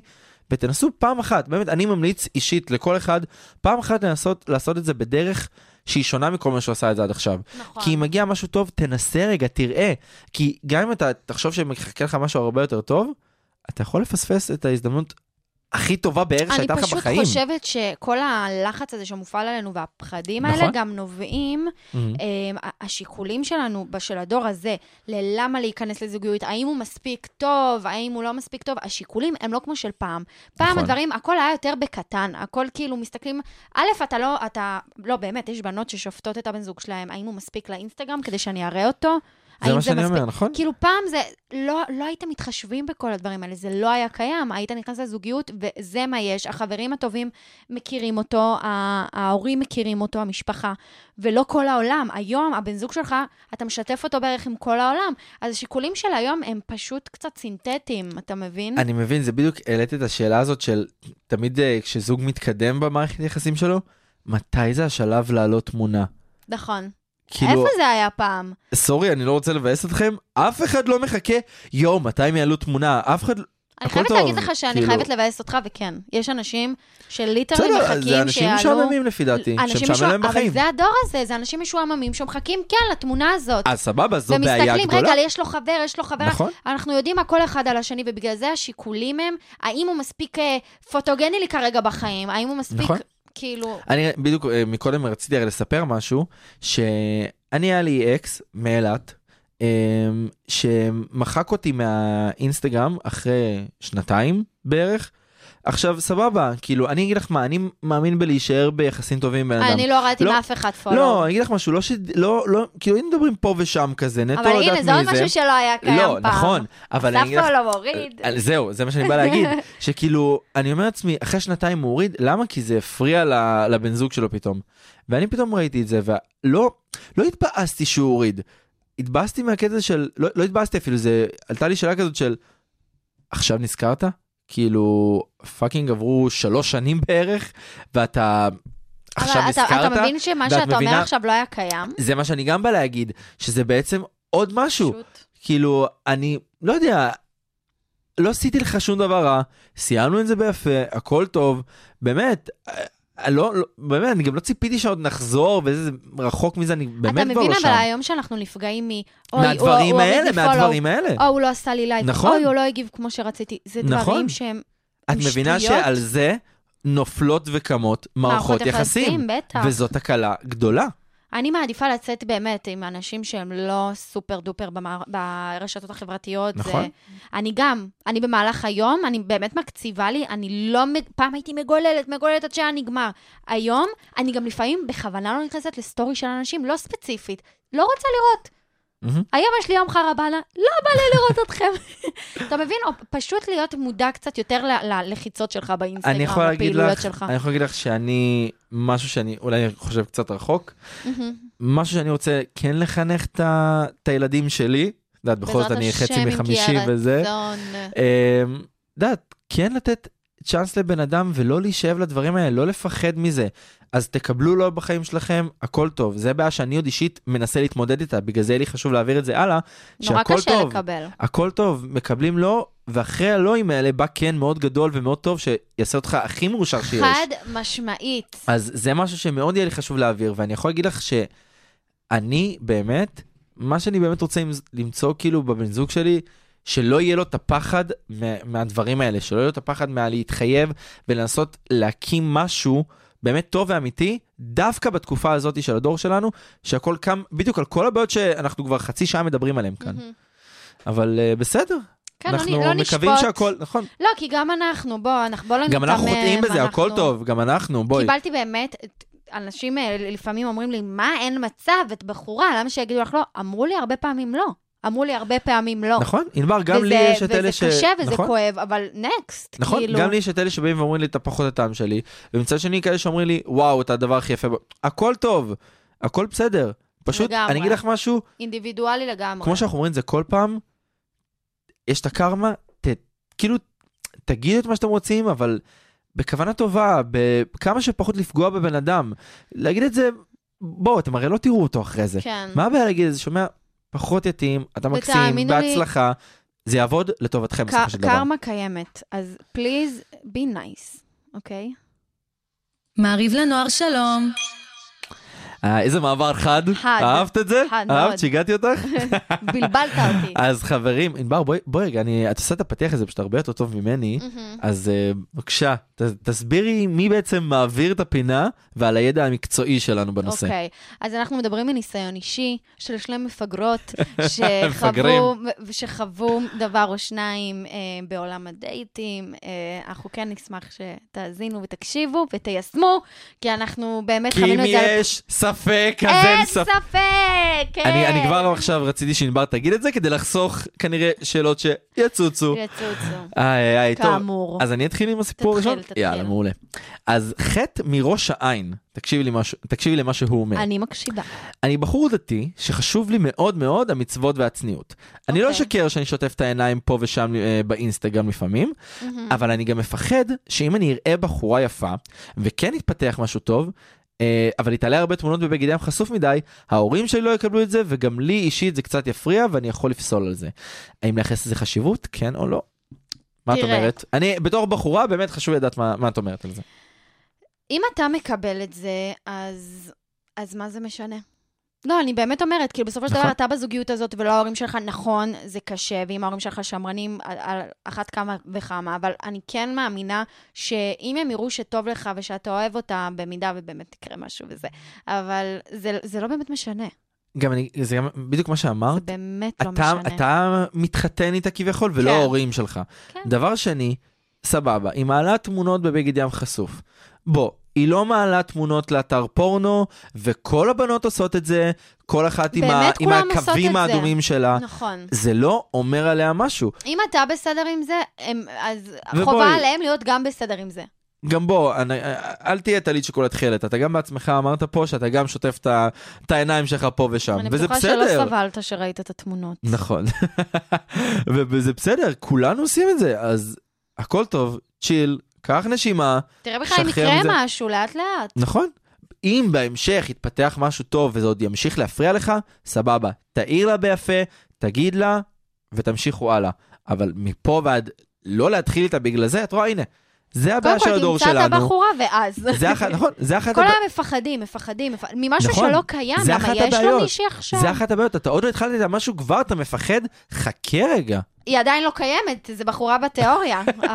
D: ותנסו פעם אחת, באמת, אני ממליץ אישית לכל אחד, פעם אחת לנסות לעשות את זה בדרך שהיא שונה מכל מה שהוא עשה את זה עד עכשיו.
E: נכון.
D: כי אם מגיע משהו טוב, תנסה רגע, תראה. כי גם אם אתה תחשוב שמחכה לך משהו הרבה יותר טוב, אתה יכול לפספס את ההזדמנות הכי טובה בערך
E: אני
D: שהייתה לך
E: פשוט
D: בחיים.
E: חושבת שכל הלחץ הזה שמופעל עלינו והפחדים
D: נכון.
E: האלה גם נובעים
D: מהמם.
E: אמ, ה- השיקולים שלנו, של הדור הזה, ללמה להיכנס לזוגיות, האם הוא מספיק טוב, האם הוא לא מספיק טוב, השיקולים הם לא כמו של פעם. פעם
D: נכון.
E: הדברים, הכל היה יותר בקטן, הכל כאילו מסתכלים, א', אתה לא, אתה, לא, באמת, יש בנות ששופטות את הבן זוג שלהם, האם הוא מספיק לאינסטגרם כדי שאני אראה אותו?
D: זה
E: האם
D: מה שאני
E: מספיק?
D: אומר, נכון?
E: כאילו פעם זה, לא, לא הייתם מתחשבים בכל הדברים האלה, זה לא היה קיים. היית נכנס לזוגיות וזה מה יש. החברים הטובים מכירים אותו, ה- ההורים מכירים אותו, המשפחה, ולא כל העולם. היום הבן זוג שלך, אתה משתף אותו בערך עם כל העולם. אז השיקולים של היום הם פשוט קצת סינתטיים, אתה מבין?
D: אני מבין, זה בדיוק העליתי את השאלה הזאת של תמיד אה, כשזוג מתקדם במערכת היחסים שלו, מתי זה השלב להעלות תמונה?
E: נכון.
D: כאילו,
E: איפה זה היה פעם?
D: סורי, אני לא רוצה לבאס אתכם, אף אחד לא מחכה, יואו, מתי הם יעלו תמונה? אף אחד...
E: אני
D: הכל
E: חייבת
D: טוב,
E: להגיד לך שאני
D: כאילו.
E: חייבת לבאס אותך, וכן, יש אנשים שליטרלי
D: בסדר,
E: מחכים שיעלו...
D: זה אנשים משעממים לפי דעתי,
E: אנשים
D: שמשעמם
E: משוע-
D: להם בחיים.
E: אבל זה הדור הזה, זה אנשים משועממים שמחכים, כן, לתמונה הזאת.
D: אז סבבה, זו בעיה גדולה.
E: ומסתכלים, רגע, יש לו חבר, יש לו חבר.
D: נכון.
E: אנחנו יודעים מה כל אחד על השני, ובגלל זה השיקולים הם, האם הוא מספיק אה, פוטוגני לי כרגע בחיים, האם הוא מספיק,
D: נכון.
E: כאילו...
D: אני בדיוק אה, מקודם רציתי הרי לספר משהו שאני היה לי אקס מאילת אה, שמחק אותי מהאינסטגרם אחרי שנתיים בערך. עכשיו סבבה כאילו אני אגיד לך מה אני מאמין בלהישאר ביחסים טובים עם בן אדם.
E: אני לא הורדתי
D: לא-
E: מאף אחד פולו.
D: לא אני אגיד לך משהו לא ש... לא לא כאילו אם מדברים פה ושם כזה נטו
E: אבל
D: לדעת
E: הנה, זה עוד
D: מי
E: משהו שלא היה קיים
D: לא
E: פעם.
D: נכון אבל אני אגיד לך
E: סף לא מוריד.
D: אה, זהו, זה מה שאני בא להגיד, שכאילו, אני אומר לעצמי, אחרי שנתיים הוא הוריד, למה? כי זה הפריע ל- לבן זוג שלו פתאום. ואני פתאום ראיתי את זה, ולא לא התבאסתי שהוא הוריד. התבאסתי מהקטע של, לא, לא התבאסתי אפילו, זה, עלתה לי שאלה כזאת של, עכשיו נזכרת? כאילו, פאקינג עברו שלוש שנים בערך, ואתה
E: אבל
D: עכשיו
E: אתה-
D: נזכרת?
E: אתה מבין שמה
D: ואת
E: שאתה אומר
D: מבינה-
E: עכשיו לא היה קיים?
D: זה מה שאני גם בא להגיד, שזה בעצם עוד משהו.
E: פשוט.
D: כאילו, אני לא יודע, לא עשיתי לך שום דבר רע, סיימנו את זה ביפה, הכל טוב, באמת, אה, אה, לא, לא, באמת, אני גם לא ציפיתי שעוד נחזור, וזה רחוק מזה, אני
E: אתה
D: באמת כבר
E: מבין,
D: לא
E: אבל
D: שם.
E: היום שאנחנו נפגעים מ... אוי, הוא-
D: מהדברים
E: הוא הוריד
D: האלה,
E: לי follow,
D: מהדברים האלה.
E: או הוא לא עשה לי לייב,
D: כן. נכון.
E: אוי, הוא לא הגיב כמו שרציתי. זה דברים
D: נכון.
E: שהם
D: את מבינה
E: שטויות.
D: שעל זה נופלות וקמות מערכות יחסים,
E: בטח.
D: וזאת תקלה גדולה.
E: אני מעדיפה לצאת באמת עם אנשים שהם לא סופר דופר במער... ברשתות החברתיות.
D: נכון.
E: זה... אני גם, אני במהלך היום, אני באמת מקציבה לי, אני לא, מג- פעם הייתי מגוללת, מגוללת עד שהיה נגמר. היום, אני גם לפעמים בכוונה לא נכנסת לסטורי של אנשים, לא ספציפית, לא רוצה לראות.
D: מהמם.
E: היום יש לי יום חרבנה, לא בא לי לראות אתכם. אתה מבין? או פשוט להיות מודע קצת יותר ל- ללחיצות שלך
D: אני יכול
E: באינסטגרם,
D: להגיד
E: לפעילויות
D: לך,
E: שלך.
D: אני יכול להגיד לך שאני, משהו שאני אולי חושב קצת רחוק,
E: מהמם.
D: משהו שאני רוצה כן לחנך את ה- את הילדים שלי, את יודעת, בכל זאת
E: בעזרת
D: אני
E: השם,
D: חצי
E: אם
D: מחמישים
E: כי
D: וזה,
E: הרצון.
D: אמ, את יודעת, כן לתת צ'אנס לבן אדם ולא להישאב לדברים האלה, לא לפחד מזה. אז תקבלו לא בחיים שלכם, הכל טוב. זה הבעיה שאני עוד אישית מנסה להתמודד איתה, בגלל זה לי חשוב להעביר את זה הלאה,
E: נורא
D: שהכל
E: קשה
D: טוב.
E: לקבל.
D: הכל טוב, מקבלים לא, ואחרי הלואים האלה בא כן מאוד גדול ומאוד טוב, שיעשה אותך הכי מאושר שיש.
E: חד משמעית.
D: אז זה משהו שמאוד יהיה לי חשוב להעביר, ואני יכול להגיד לך שאני באמת, מה שאני באמת רוצה למז- למצוא כאילו בבן זוג שלי, שלא יהיה לו את הפחד מה- מהדברים האלה, שלא יהיה לו את הפחד מהלהתחייב ולנסות להקים משהו באמת טוב ואמיתי, דווקא בתקופה הזאת של הדור שלנו, שהכל קם בדיוק על כל הבעיות שאנחנו כבר חצי שעה מדברים עליהן כאן.
E: מהמם.
D: אבל אה, בסדר,
E: כן, לא נ-
D: כן. אנחנו
E: לא
D: מקווים
E: נשפוט.
D: שהכל, נכון,
E: לא, כי גם אנחנו, בוא, אנחנו בוא לא
D: גם אנחנו
E: ניתמם,
D: חוטאים בזה, הכל
E: אנחנו-
D: טוב, גם אנחנו, בואי.
E: קיבלתי באמת, את- אנשים אה, לפעמים אומרים לי, מה, אין מצב, את בחורה, למה שיגידו לך לא? אמרו לי הרבה פעמים לא. אמרו לי הרבה פעמים לא.
D: נכון, ענבר, גם לי
E: וזה-
D: יש את אלה ש...
E: וזה קשה וזה
D: נכון?
E: כואב, אבל נקסט,
D: נכון,
E: כאילו.
D: גם לי יש את אלה שבאים ואומרים לי אתה פחות הטעם שלי, ומצד שני כאלה שאומרים לי וואו אתה הדבר הכי יפה, ב-". הכל טוב, הכל בסדר, פשוט
E: לגמרי. אוקיי.
D: אני אגיד לך משהו,
E: אינדיבידואלי לגמרי.
D: כמו שאנחנו אומרים את זה כל פעם, יש את הקרמה, ת, כאילו תגידו את מה שאתם רוצים, אבל בכוונה טובה, בכמה שפחות לפגוע בבן אדם, להגיד את זה, בואו אתם הרי לא תראו אותו אחרי זה,
E: כן.
D: מה הבעיה להגיד את זה, שומע, פחות יתאים, אתה מקסים,
E: ותאמינו לי-
D: בהצלחה, זה יעבוד לטובתכם בסופו
E: ק-
D: של דבר.
E: קרמה קיימת, אז פליז, בי נייס, אוקיי?
C: מעריב לנוער שלום.
D: אה, איזה מעבר חד.
E: חד.
D: אהבת את זה?
E: חד מאוד.
D: אהבת שהגעתי אותך?
E: בלבלת אותי.
D: אז חברים, ענבר, בואי- בואי רגע, אני- את עושה את הפתיח הזה פשוט הרבה יותר טוב ממני.
E: מהמם.
D: אז אה, בבקשה, ת- תסבירי מי בעצם מעביר את הפינה ועל הידע המקצועי שלנו בנושא.
E: אוקיי, okay. אז אנחנו מדברים מניסיון אישי של שני מפגרות
D: מפגרים.
E: שחוו, שחוו דבר או שניים אה, בעולם הדייטים. אה, אנחנו כן נשמח שתאזינו ותקשיבו ותיישמו, כי אנחנו באמת
D: כי אם
E: חווינו את זה. על-
D: יש ספק, אז
E: אין
D: אין ספק.
E: ספק! כן.
D: אני אני כבר לא עכשיו רציתי שענבר תגיד את זה כדי לחסוך כנראה שאלות שיצוצו. אה,
E: יצוצו.
D: איי, איי, טוב.
E: כן. כאמור.
D: אז אני אתחיל עם הסיפור
E: תתחיל,
D: הראשון?
E: תתחיל.
D: יאללה, מעולה. אז חטא מראש העין, תקשיבי לי משהו- תקשיבי למה שהוא אומר.
E: אני מקשיבה.
D: אני בחור דתי שחשוב לי מאוד מאוד המצוות והצניעות. אני לא
E: אוקיי.
D: אשקר שאני שוטף את העיניים פה ושם אה, באינסטגרם לפעמים,
E: Mm.
D: אבל אני גם מפחד שאם אני אראה בחורה יפה, וכן יתפתח משהו טוב, אה, אבל היא תעלה הרבה תמונות בבגד ים חשוף מדי, ההורים שלי לא יקבלו את זה, וגם לי אישית זה קצת יפריע ואני יכול לפסול על זה. האם לייחס לזה חשיבות, כן או לא? מה את
E: תראה.
D: אומרת? אני בתור בחורה באמת חשוב לי לדעת מה מה את אומרת על זה.
E: אם אתה מקבל את זה, אז, אז מה זה משנה? לא, אני באמת אומרת, כאילו, בסופו של
D: נכון.
E: דבר אתה בזוגיות הזאת ולא ההורים שלך, נכון, זה קשה, ואם ההורים שלך שמרנים, על, על אחת כמה וכמה, אבל אני כן מאמינה שאם הם יראו שטוב לך ושאתה אוהב אותם, במידה ובאמת יקרה משהו וזה, אבל זה, זה לא באמת משנה,
D: גם אני, זה גם בדיוק מה
E: זה
D: שאמרת.
E: באמת לא
D: אתה,
E: משנה.
D: אתה מתחתן איתה כביכול, ולא
E: כן.
D: ההורים שלך.
E: כן.
D: דבר שני, סבבה, היא מעלה תמונות בבגד ים חשוף. בוא, היא לא מעלה תמונות לאתר פורנו, וכל הבנות עושות את זה, כל אחת עם, ה,
E: באמת
D: עם
E: כולם עושות את
D: הקווים
E: זה.
D: האדומים שלה.
E: נכון.
D: זה לא אומר עליה משהו.
E: אם אתה בסדר עם זה, הם, אז
D: ובואי-
E: חובה עליהם להיות גם בסדר עם זה.
D: גם בוא, אני, אל תהיה טלית שכולה תכלת, אתה גם בעצמך אמרת פה שאתה גם שוטף את ה- את העיניים שלך פה ושם,
E: אני
D: וזה
E: בטוחה
D: בסדר.
E: שלא סבלת שראית את התמונות.
D: נכון. וזה בסדר, כולנו עושים את זה, אז הכל טוב, צ'יל, קח נשימה,
E: תראה בכלל אם
D: שחרר
E: יקרה
D: מזה.
E: משהו, לאט-לאט.
D: נכון? אם בהמשך יתפתח משהו טוב וזה עוד ימשיך להפריע לך, סבבה. תעיר לה ביפה, תגיד לה, ותמשיכו הלאה. אבל מפה ועד לא להתחיל איתה בגלל זה, את רואה, הנה, זה
E: קודם
D: הבעיה של
E: כל
D: הדור
E: תמצא את
D: שלנו.
E: הבחורה ואז.
D: זה אחת, נכון, זה אחת
E: כל
D: הבע-
E: היום מפחדים, מפחדים, מפח- ממשהו
D: נכון.
E: שלא קיים,
D: זה
E: למה
D: אחת
E: יש לו
D: הבעיות.
E: מישהי עכשיו?
D: זה אחת הבעיות, אתה עוד לא התחלת איתה משהו כבר, אתה מפחד, חכה רגע.
E: היא עדיין לא קיימת, זה בחורה כן. בתיאוריה. אבל-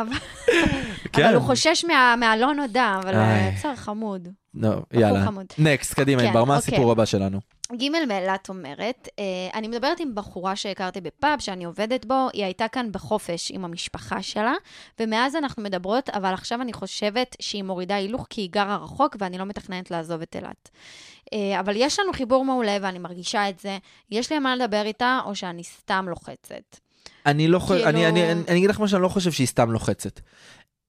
E: אבל הוא חושש מה- מהלא נודע, אבל
D: כן. איי.
E: יצר חמוד.
D: לא, יאללה.
E: חמוד.
D: נקסט, קדימה,
E: כן,
D: ענבר, מה
E: אוקיי.
D: הסיפור הבא שלנו?
E: ג' מאילת אומרת, אה, אני מדברת עם בחורה שהכרתי בפאב שאני עובדת בו, היא הייתה כאן בחופש עם המשפחה שלה, ומאז אנחנו מדברות, אבל עכשיו אני חושבת שהיא מורידה הילוך כי היא גרה רחוק ואני לא מתכננת לעזוב את אילת. אה, אבל יש לנו חיבור מעולה ואני מרגישה את זה, יש לי על מה לדבר איתה או שאני סתם לוחצת.
D: אני לא חושב,
E: כאילו-
D: אני, אני, אני, אני אגיד לך מה שאני לא חושב שהיא סתם לוחצת.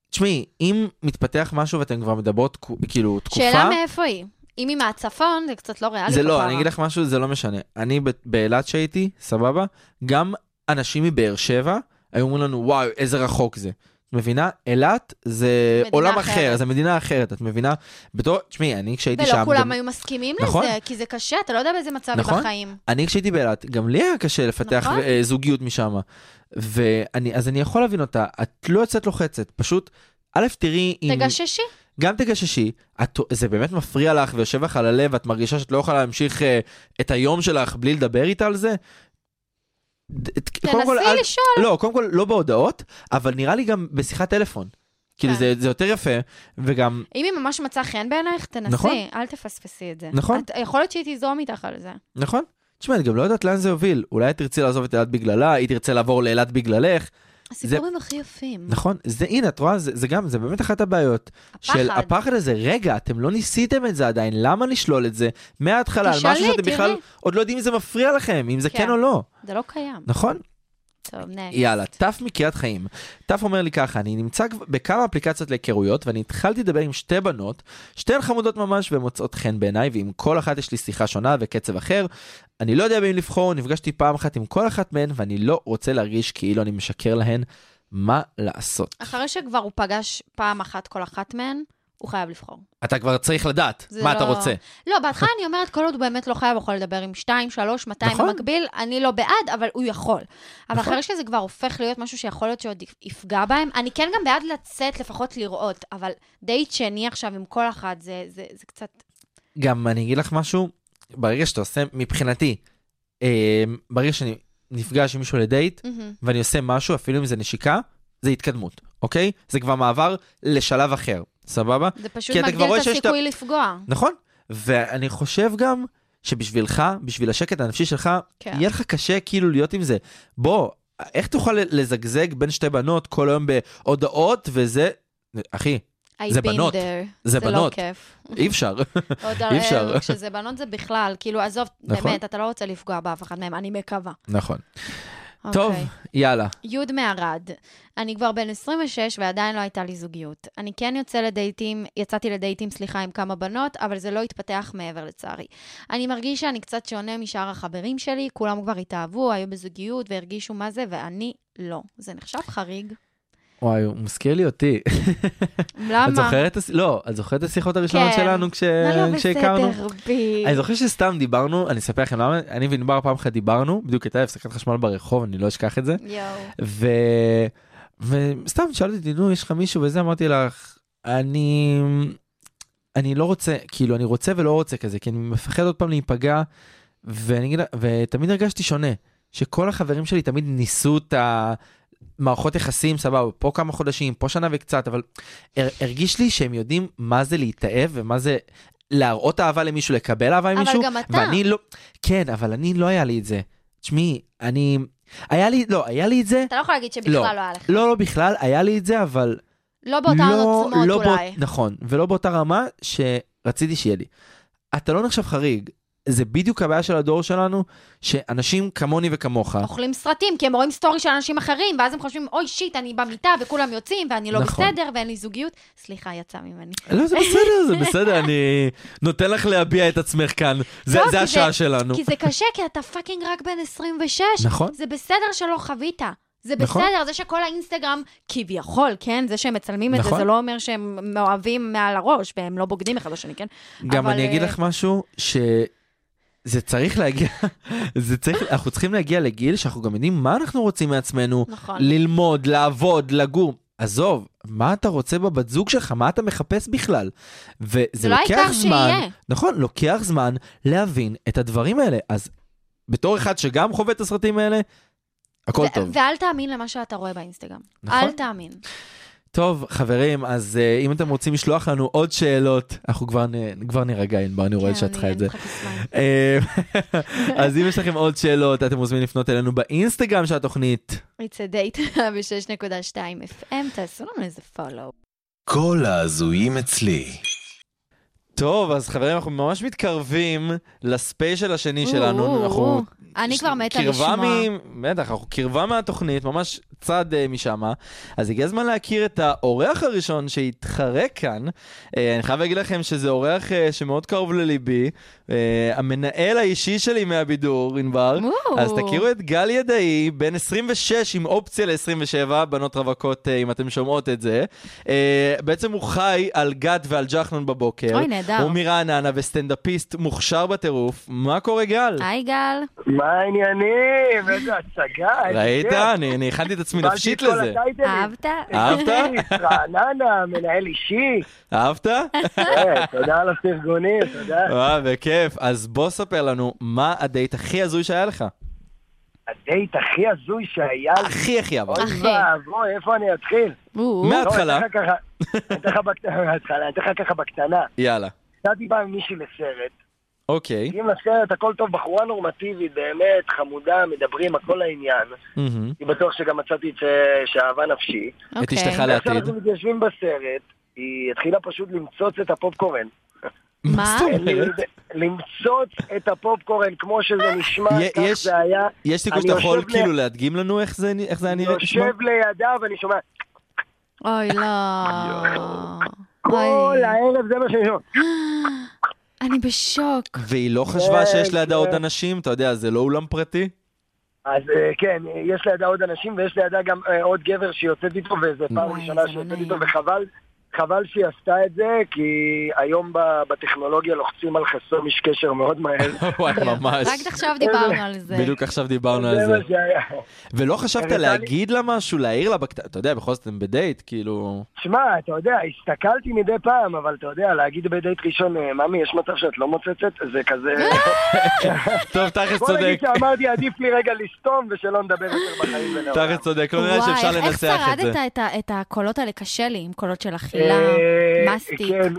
D: תשמעי, אם מתפתח משהו ואתן כבר מדברות כו- כאילו תקופה,
E: שאלה מאיפה היא? אם היא מהצפון, זה קצת לא ריאלי.
D: זה לא,
E: כפרה.
D: אני אגיד לך משהו, זה לא משנה. אני ב- באילת שהייתי, סבבה, גם אנשים מבאר שבע היו אומרים לנו, וואי, איזה רחוק זה. את מבינה? אילת זה
E: מדינה
D: עולם
E: אחרת.
D: אחר, זה מדינה אחרת, את מבינה? בתור, תשמעי, אני כשהייתי שם,
E: ולא כולם
D: גם-
E: היו מסכימים
D: נכון.
E: לזה, כי זה קשה, אתה לא יודע באיזה מצב היא
D: נכון.
E: בחיים.
D: אני כשהייתי באילת, גם לי היה קשה לפתח
E: נכון.
D: אה, זוגיות משם. ואני, אז אני יכול להבין אותה, את לא יוצאת לוחצת, פשוט, א', תראי אם...
E: תגששי.
D: גם תגששי, את, זה באמת מפריע לך ויושב לך על הלב ואת מרגישה שאת לא יכולה להמשיך אה, את היום שלך בלי לדבר איתה על זה? ד- ת- קודם כל, אל-
E: תנסי לשאול.
D: לא, קודם כל לא בהודעות, אבל נראה לי גם בשיחת טלפון. כאילו
E: כן.
D: זה, זה יותר יפה, וגם,
E: אם היא ממש מצאה חן בעינייך, תנסי,
D: נכון.
E: נכון. אל תפספסי את זה.
D: נכון.
E: את, יכול להיות שהיא תזרום איתך על זה.
D: נכון? תשמע, את גם לא יודעת לאן זה יוביל. אולי את תרצי לעזוב את אילת בגללה, היא תרצה לעבור לאילת בגללך.
E: הסיפורים הכי יפים.
D: נכון, זה הנה, את רואה, זה, זה גם, זה באמת אחת הבעיות.
E: הפחד.
D: של הפחד הזה, רגע, אתם לא ניסיתם את זה עדיין, למה לשלול את זה מההתחלה, על
E: תשאלי,
D: משהו שאתם
E: תראי.
D: בכלל עוד לא יודעים אם זה מפריע לכם, אם זה
E: כן. אה.
D: כן או לא,
E: זה לא קיים.
D: נכון?
E: טוב, נקסט.
D: יאללה, תף מקריית חיים. תף אומר לי ככה, אני נמצא כבר בכמה אפליקציות להיכרויות, ואני התחלתי לדבר עם שתי בנות, שתיהן חמודות ממש והן מוצאות חן בעיניי, ועם כל אחת יש לי שיחה שונה וקצב אחר. אני לא יודע בין לבחור, נפגשתי פעם אחת עם כל אחת מהן, ואני לא רוצה להרגיש כאילו אני משקר להן. מה לעשות?
E: אחרי שכבר הוא פגש פעם אחת כל אחת מהן, הוא חייב לבחור.
D: אתה כבר צריך לדעת,
E: זה
D: מה
E: לא-
D: אתה רוצה?
E: לא, בהתחלה אני אומרת, כל עוד הוא באמת לא חייב, הוא יכול לדבר עם 2, 3, 200
D: נכון.
E: במקביל, אני לא בעד, אבל הוא יכול. אבל
D: נכון.
E: אחרי שזה כבר הופך להיות משהו שיכול להיות שעוד יפגע בהם, אני כן גם בעד לצאת, לפחות לראות, אבל דייט שני עכשיו עם כל אחת, זה- זה זה קצת...
D: גם אני אגיד לך משהו, ברגע שאתה עושה, מבחינתי, אה, ברגע שאני נפגש עם מישהו לדייט,
E: מהמם.
D: ואני עושה משהו, אפילו אם זה נשיקה, זה התקדמות, אוקיי? זה כבר מעבר לשלב אחר, סבבה?
E: זה פשוט
D: כי אתה כבר
E: מגדיל
D: רואה
E: את
D: שיש את ה-
E: הסיכוי לפגוע.
D: נכון? ואני חושב גם שבשבילך, בשביל השקט הנפשי שלך,
E: כן.
D: יהיה לך קשה כאילו להיות עם זה. בוא, איך תוכל לזגזג בין שתי בנות כל היום בהודעות וזה... אחי,
E: I've
D: זה
E: been
D: בנות.
E: there. זה
D: זה
E: לא
D: בנות,
E: כיף.
D: אי אפשר.
E: עוד
D: אי אפשר.
E: הרי, כשזה בנות זה בכלל, כאילו, עזוב,
D: נכון.
E: באמת, אתה לא רוצה לפגוע באף אחד מהם, אני מקווה.
D: נכון. טוב,
E: אוקיי.
D: יאללה.
E: י' מערד, אני כבר בן 26 ועדיין לא הייתה לי זוגיות. אני כן יוצא לדייטים, יצאתי לדייטים, סליחה, עם כמה בנות, אבל זה לא התפתח מעבר לצערי. אני מרגיש שאני קצת שונה משאר החברים שלי, כולם כבר התאהבו, היו בזוגיות והרגישו מה זה, ואני לא. זה נחשב חריג.
D: וואי, הוא מזכיר לי אותי.
E: למה?
D: את זוכרת? את הס- לא, את זוכרת את השיחות הראשונות
E: כן.
D: שלנו כש-
E: מה לא
D: כשהכרנו?
E: בסדר בי?
D: אני זוכר שסתם דיברנו, אני אספר לכם למה, אני וענבר פעם אחת דיברנו, בדיוק הייתה הפסקת חשמל ברחוב, אני לא אשכח את זה,
E: יואו.
D: ו... וסתם שאלתי אותי, נו, יש לך מישהו וזה, אמרתי לך, אני... אני לא רוצה, כאילו, אני רוצה ולא רוצה כזה, כי אני מפחד עוד פעם להיפגע, ואני אגיד, לה- ותמיד הרגשתי שונה, שכל החברים שלי תמיד ניסו את המערכות יחסים, סבבה, פה כמה חודשים, פה שנה וקצת, אבל הר- הרגיש לי שהם יודעים מה זה להתאהב ומה זה להראות אהבה למישהו, לקבל אהבה עם
E: אבל
D: מישהו.
E: גם אתה.
D: ואני לא, כן, אבל אני לא היה לי את זה. תשמעי, אני, היה לי, לא, היה לי את זה,
E: אתה לא יכול להגיד שבכלל
D: לא.
E: לא היה לך.
D: לא, לא בכלל, היה לי את זה, אבל
E: לא באותן
D: לא,
E: עוצמות
D: לא
E: אולי.
D: נכון, ולא באותה רמה שרציתי שיהיה לי. אתה לא נחשב חריג, זה בדיוק הבעיה של הדור שלנו, שאנשים כמוני וכמוך,
E: אוכלים סרטים, כי הם רואים סטורי של אנשים אחרים, ואז הם חושבים, אוי שיט, אני במיטה, וכולם יוצאים, ואני לא
D: נכון.
E: בסדר, ואין לי זוגיות. סליחה, יצא ממני.
D: לא, זה בסדר, זה בסדר, אני נותן לך להביע את עצמך כאן, זה
E: לא, כי
D: זה השעה שלנו.
E: כי זה קשה, כי אתה פאקינג רק בן 26.
D: נכון.
E: זה בסדר שלא חווית. זה
D: נכון.
E: בסדר, זה שכל האינסטגרם, כביכול, כן? זה שהם מצלמים את זה,
D: נכון.
E: זה לא אומר שהם מאוהבים מעל הראש, והם לא בוגדים אחד בשני, כן?
D: גם
E: אבל,
D: אני אגיד
E: אה,
D: לך משהו, ש... זה צריך להגיע, זה צריך, אנחנו צריכים להגיע לגיל שאנחנו גם יודעים מה אנחנו רוצים מעצמנו,
E: נכון.
D: ללמוד, לעבוד, לגור. עזוב, מה אתה רוצה בבת זוג שלך? מה אתה מחפש בכלל? וזה
E: זה לא
D: לוקח
E: העיקר
D: זמן,
E: שיהיה.
D: נכון, לוקח זמן להבין את הדברים האלה. אז בתור אחד שגם חווה את הסרטים האלה, הכל
E: ו-
D: טוב.
E: ואל תאמין למה שאתה רואה באינסטגרם.
D: נכון.
E: אל תאמין.
D: טוב, חברים, אז uh, אם אתם רוצים לשלוח לנו עוד שאלות, אנחנו כבר, נ... כבר נירגע, ענבר, אני רואה
E: כן,
D: שאת
E: אני-
D: חי את
E: אני
D: זה.
E: צריכה כיסיים.
D: אה, אז אם יש לכם עוד שאלות, אתם מוזמנים לפנות אלינו באינסטגרם של התוכנית.
E: It's a date ב-6.2 FM, תעשו לנו איזה follow.
A: כל ההזויים אצלי.
D: טוב, אז חברים, אנחנו ממש מתקרבים לספיישל השני שלנו.
E: או,
D: אנחנו
E: או. אני כבר מתה
D: קרבה
E: לשמוע.
D: מ... בטח, אנחנו קרבה מהתוכנית, ממש צעד uh, משם. אז הגיע הזמן להכיר את האורח הראשון שהתחרה כאן. Uh, אני חייב להגיד לכם שזה אורח uh, שמאוד קרוב לליבי, uh, המנהל האישי שלי מהבידור, ענבר.
E: וואו.
D: אז תכירו את גל ידעי, בן 26 עם אופציה ל-27, בנות רווקות, אה, אם אתם שומעות את זה. אה, בעצם הוא חי על גת ועל ג'חנון בבוקר.
E: אוי, נהדר.
D: הוא מרעננה וסטנדאפיסט מוכשר בטירוף. מה קורה, גל?
E: היי גל.
F: מה העניינים? איזה
E: אה,
F: הצגה, איזה
D: ראית?
F: כיף.
D: אני אני הכנתי את עצמי נפשית
F: כן. קיבלתי את
D: לזה.
F: כל הטייטלים. כן,
E: אהבת?
D: אהבת?
F: רעננה, מנהל אישי.
D: אהבת?
F: אה, תודה על הפרגונים, תודה.
D: וואי, בכיף. אז בוא ספר לנו, מה הדייט הכי הזוי שהיה לך?
F: הדייט הכי הזוי שהיה לי.
D: הכי הכי אבל.
F: אוי
E: אחי.
F: ואבוי, איפה אני אתחיל?
E: או,
D: מה- מההתחלה.
F: לא, אני אתן לך ככה- אני אתן לך בקט- מההתחלה, אני אתן לך ככה בקטנה.
D: יאללה.
F: יצאתי פעם עם מישהי לסרט.
D: אוקיי.
F: מגיעים לסרט, הכל טוב, בחורה נורמטיבית, באמת, חמודה, מדברים, הכל לעניין.
D: מהמם.
F: אני בטוח שגם מצאתי את אה, שאהבה נפשי.
D: את
E: אוקיי.
D: אשתך
F: עכשיו
D: לעתיד.
F: אנחנו מתיישבים בסרט, היא התחילה פשוט למצוץ את הפופקורן.
E: מה?
D: זאת אומרת?
F: למצוץ את הפופקורן כמו שזה נשמע,
D: אה, יה-
F: כך
D: יש-
F: זה היה.
D: יש סיכוי
F: אני
D: שאתה יכול
F: יושב ל-
D: כאילו להדגים לנו איך זה איך זה היה
F: אני
D: נראה? נשמע?
F: יושב לידה ואני שומע,
E: אוי, לא.
F: כל
E: אוי.
F: הערב זה מה שאני שומע.
E: אני בשוק.
D: והיא לא חשבה
F: כן,
D: שיש לידה עוד
F: כן.
D: אנשים? אתה יודע, זה לא אולם פרטי?
F: אז אה, כן, אה, יש לידה עוד אנשים ויש לידה גם אה, עוד גבר שיוצאת איתו, וזו פעם
E: וואי,
F: ראשונה
E: זה לא
F: שיוצאת
E: נעים.
F: איתו, וחבל. חבל שהיא עשתה את זה, כי היום ב- בטכנולוגיה לוחצים על חסום איש קשר מאוד מהר.
D: וואי, ממש.
E: רק עכשיו דיברנו על זה.
D: בדיוק עכשיו דיברנו על
F: כן. זה
D: זה.
F: מה שהיה.
D: ולא חשבת
F: הראתה לי-
D: להגיד לה משהו, להעיר לה בקטנה? אתה יודע, בכל זאת אתם בדייט, כאילו...
F: שמע, אתה יודע, הסתכלתי מדי פעם, אבל אתה יודע, להגיד בדייט ראשון, אה, ממי, יש מצב שאת לא מוצצת? זה כזה...
D: טוב, תכלס
F: בוא
D: אה, צודק.
F: נגיד שאמרתי, עדיף לי רגע לסתום ושלא נדבר יותר בחיים ולעולם.
D: תכלס צודק, לא נראה שאפשר
E: וואי, איך
D: לנסח את זה.
E: שרדת את ה- את הקולות האלה? קשה לי עם קולות של אכילה,
F: אה,
E: מסטיק.
F: כן,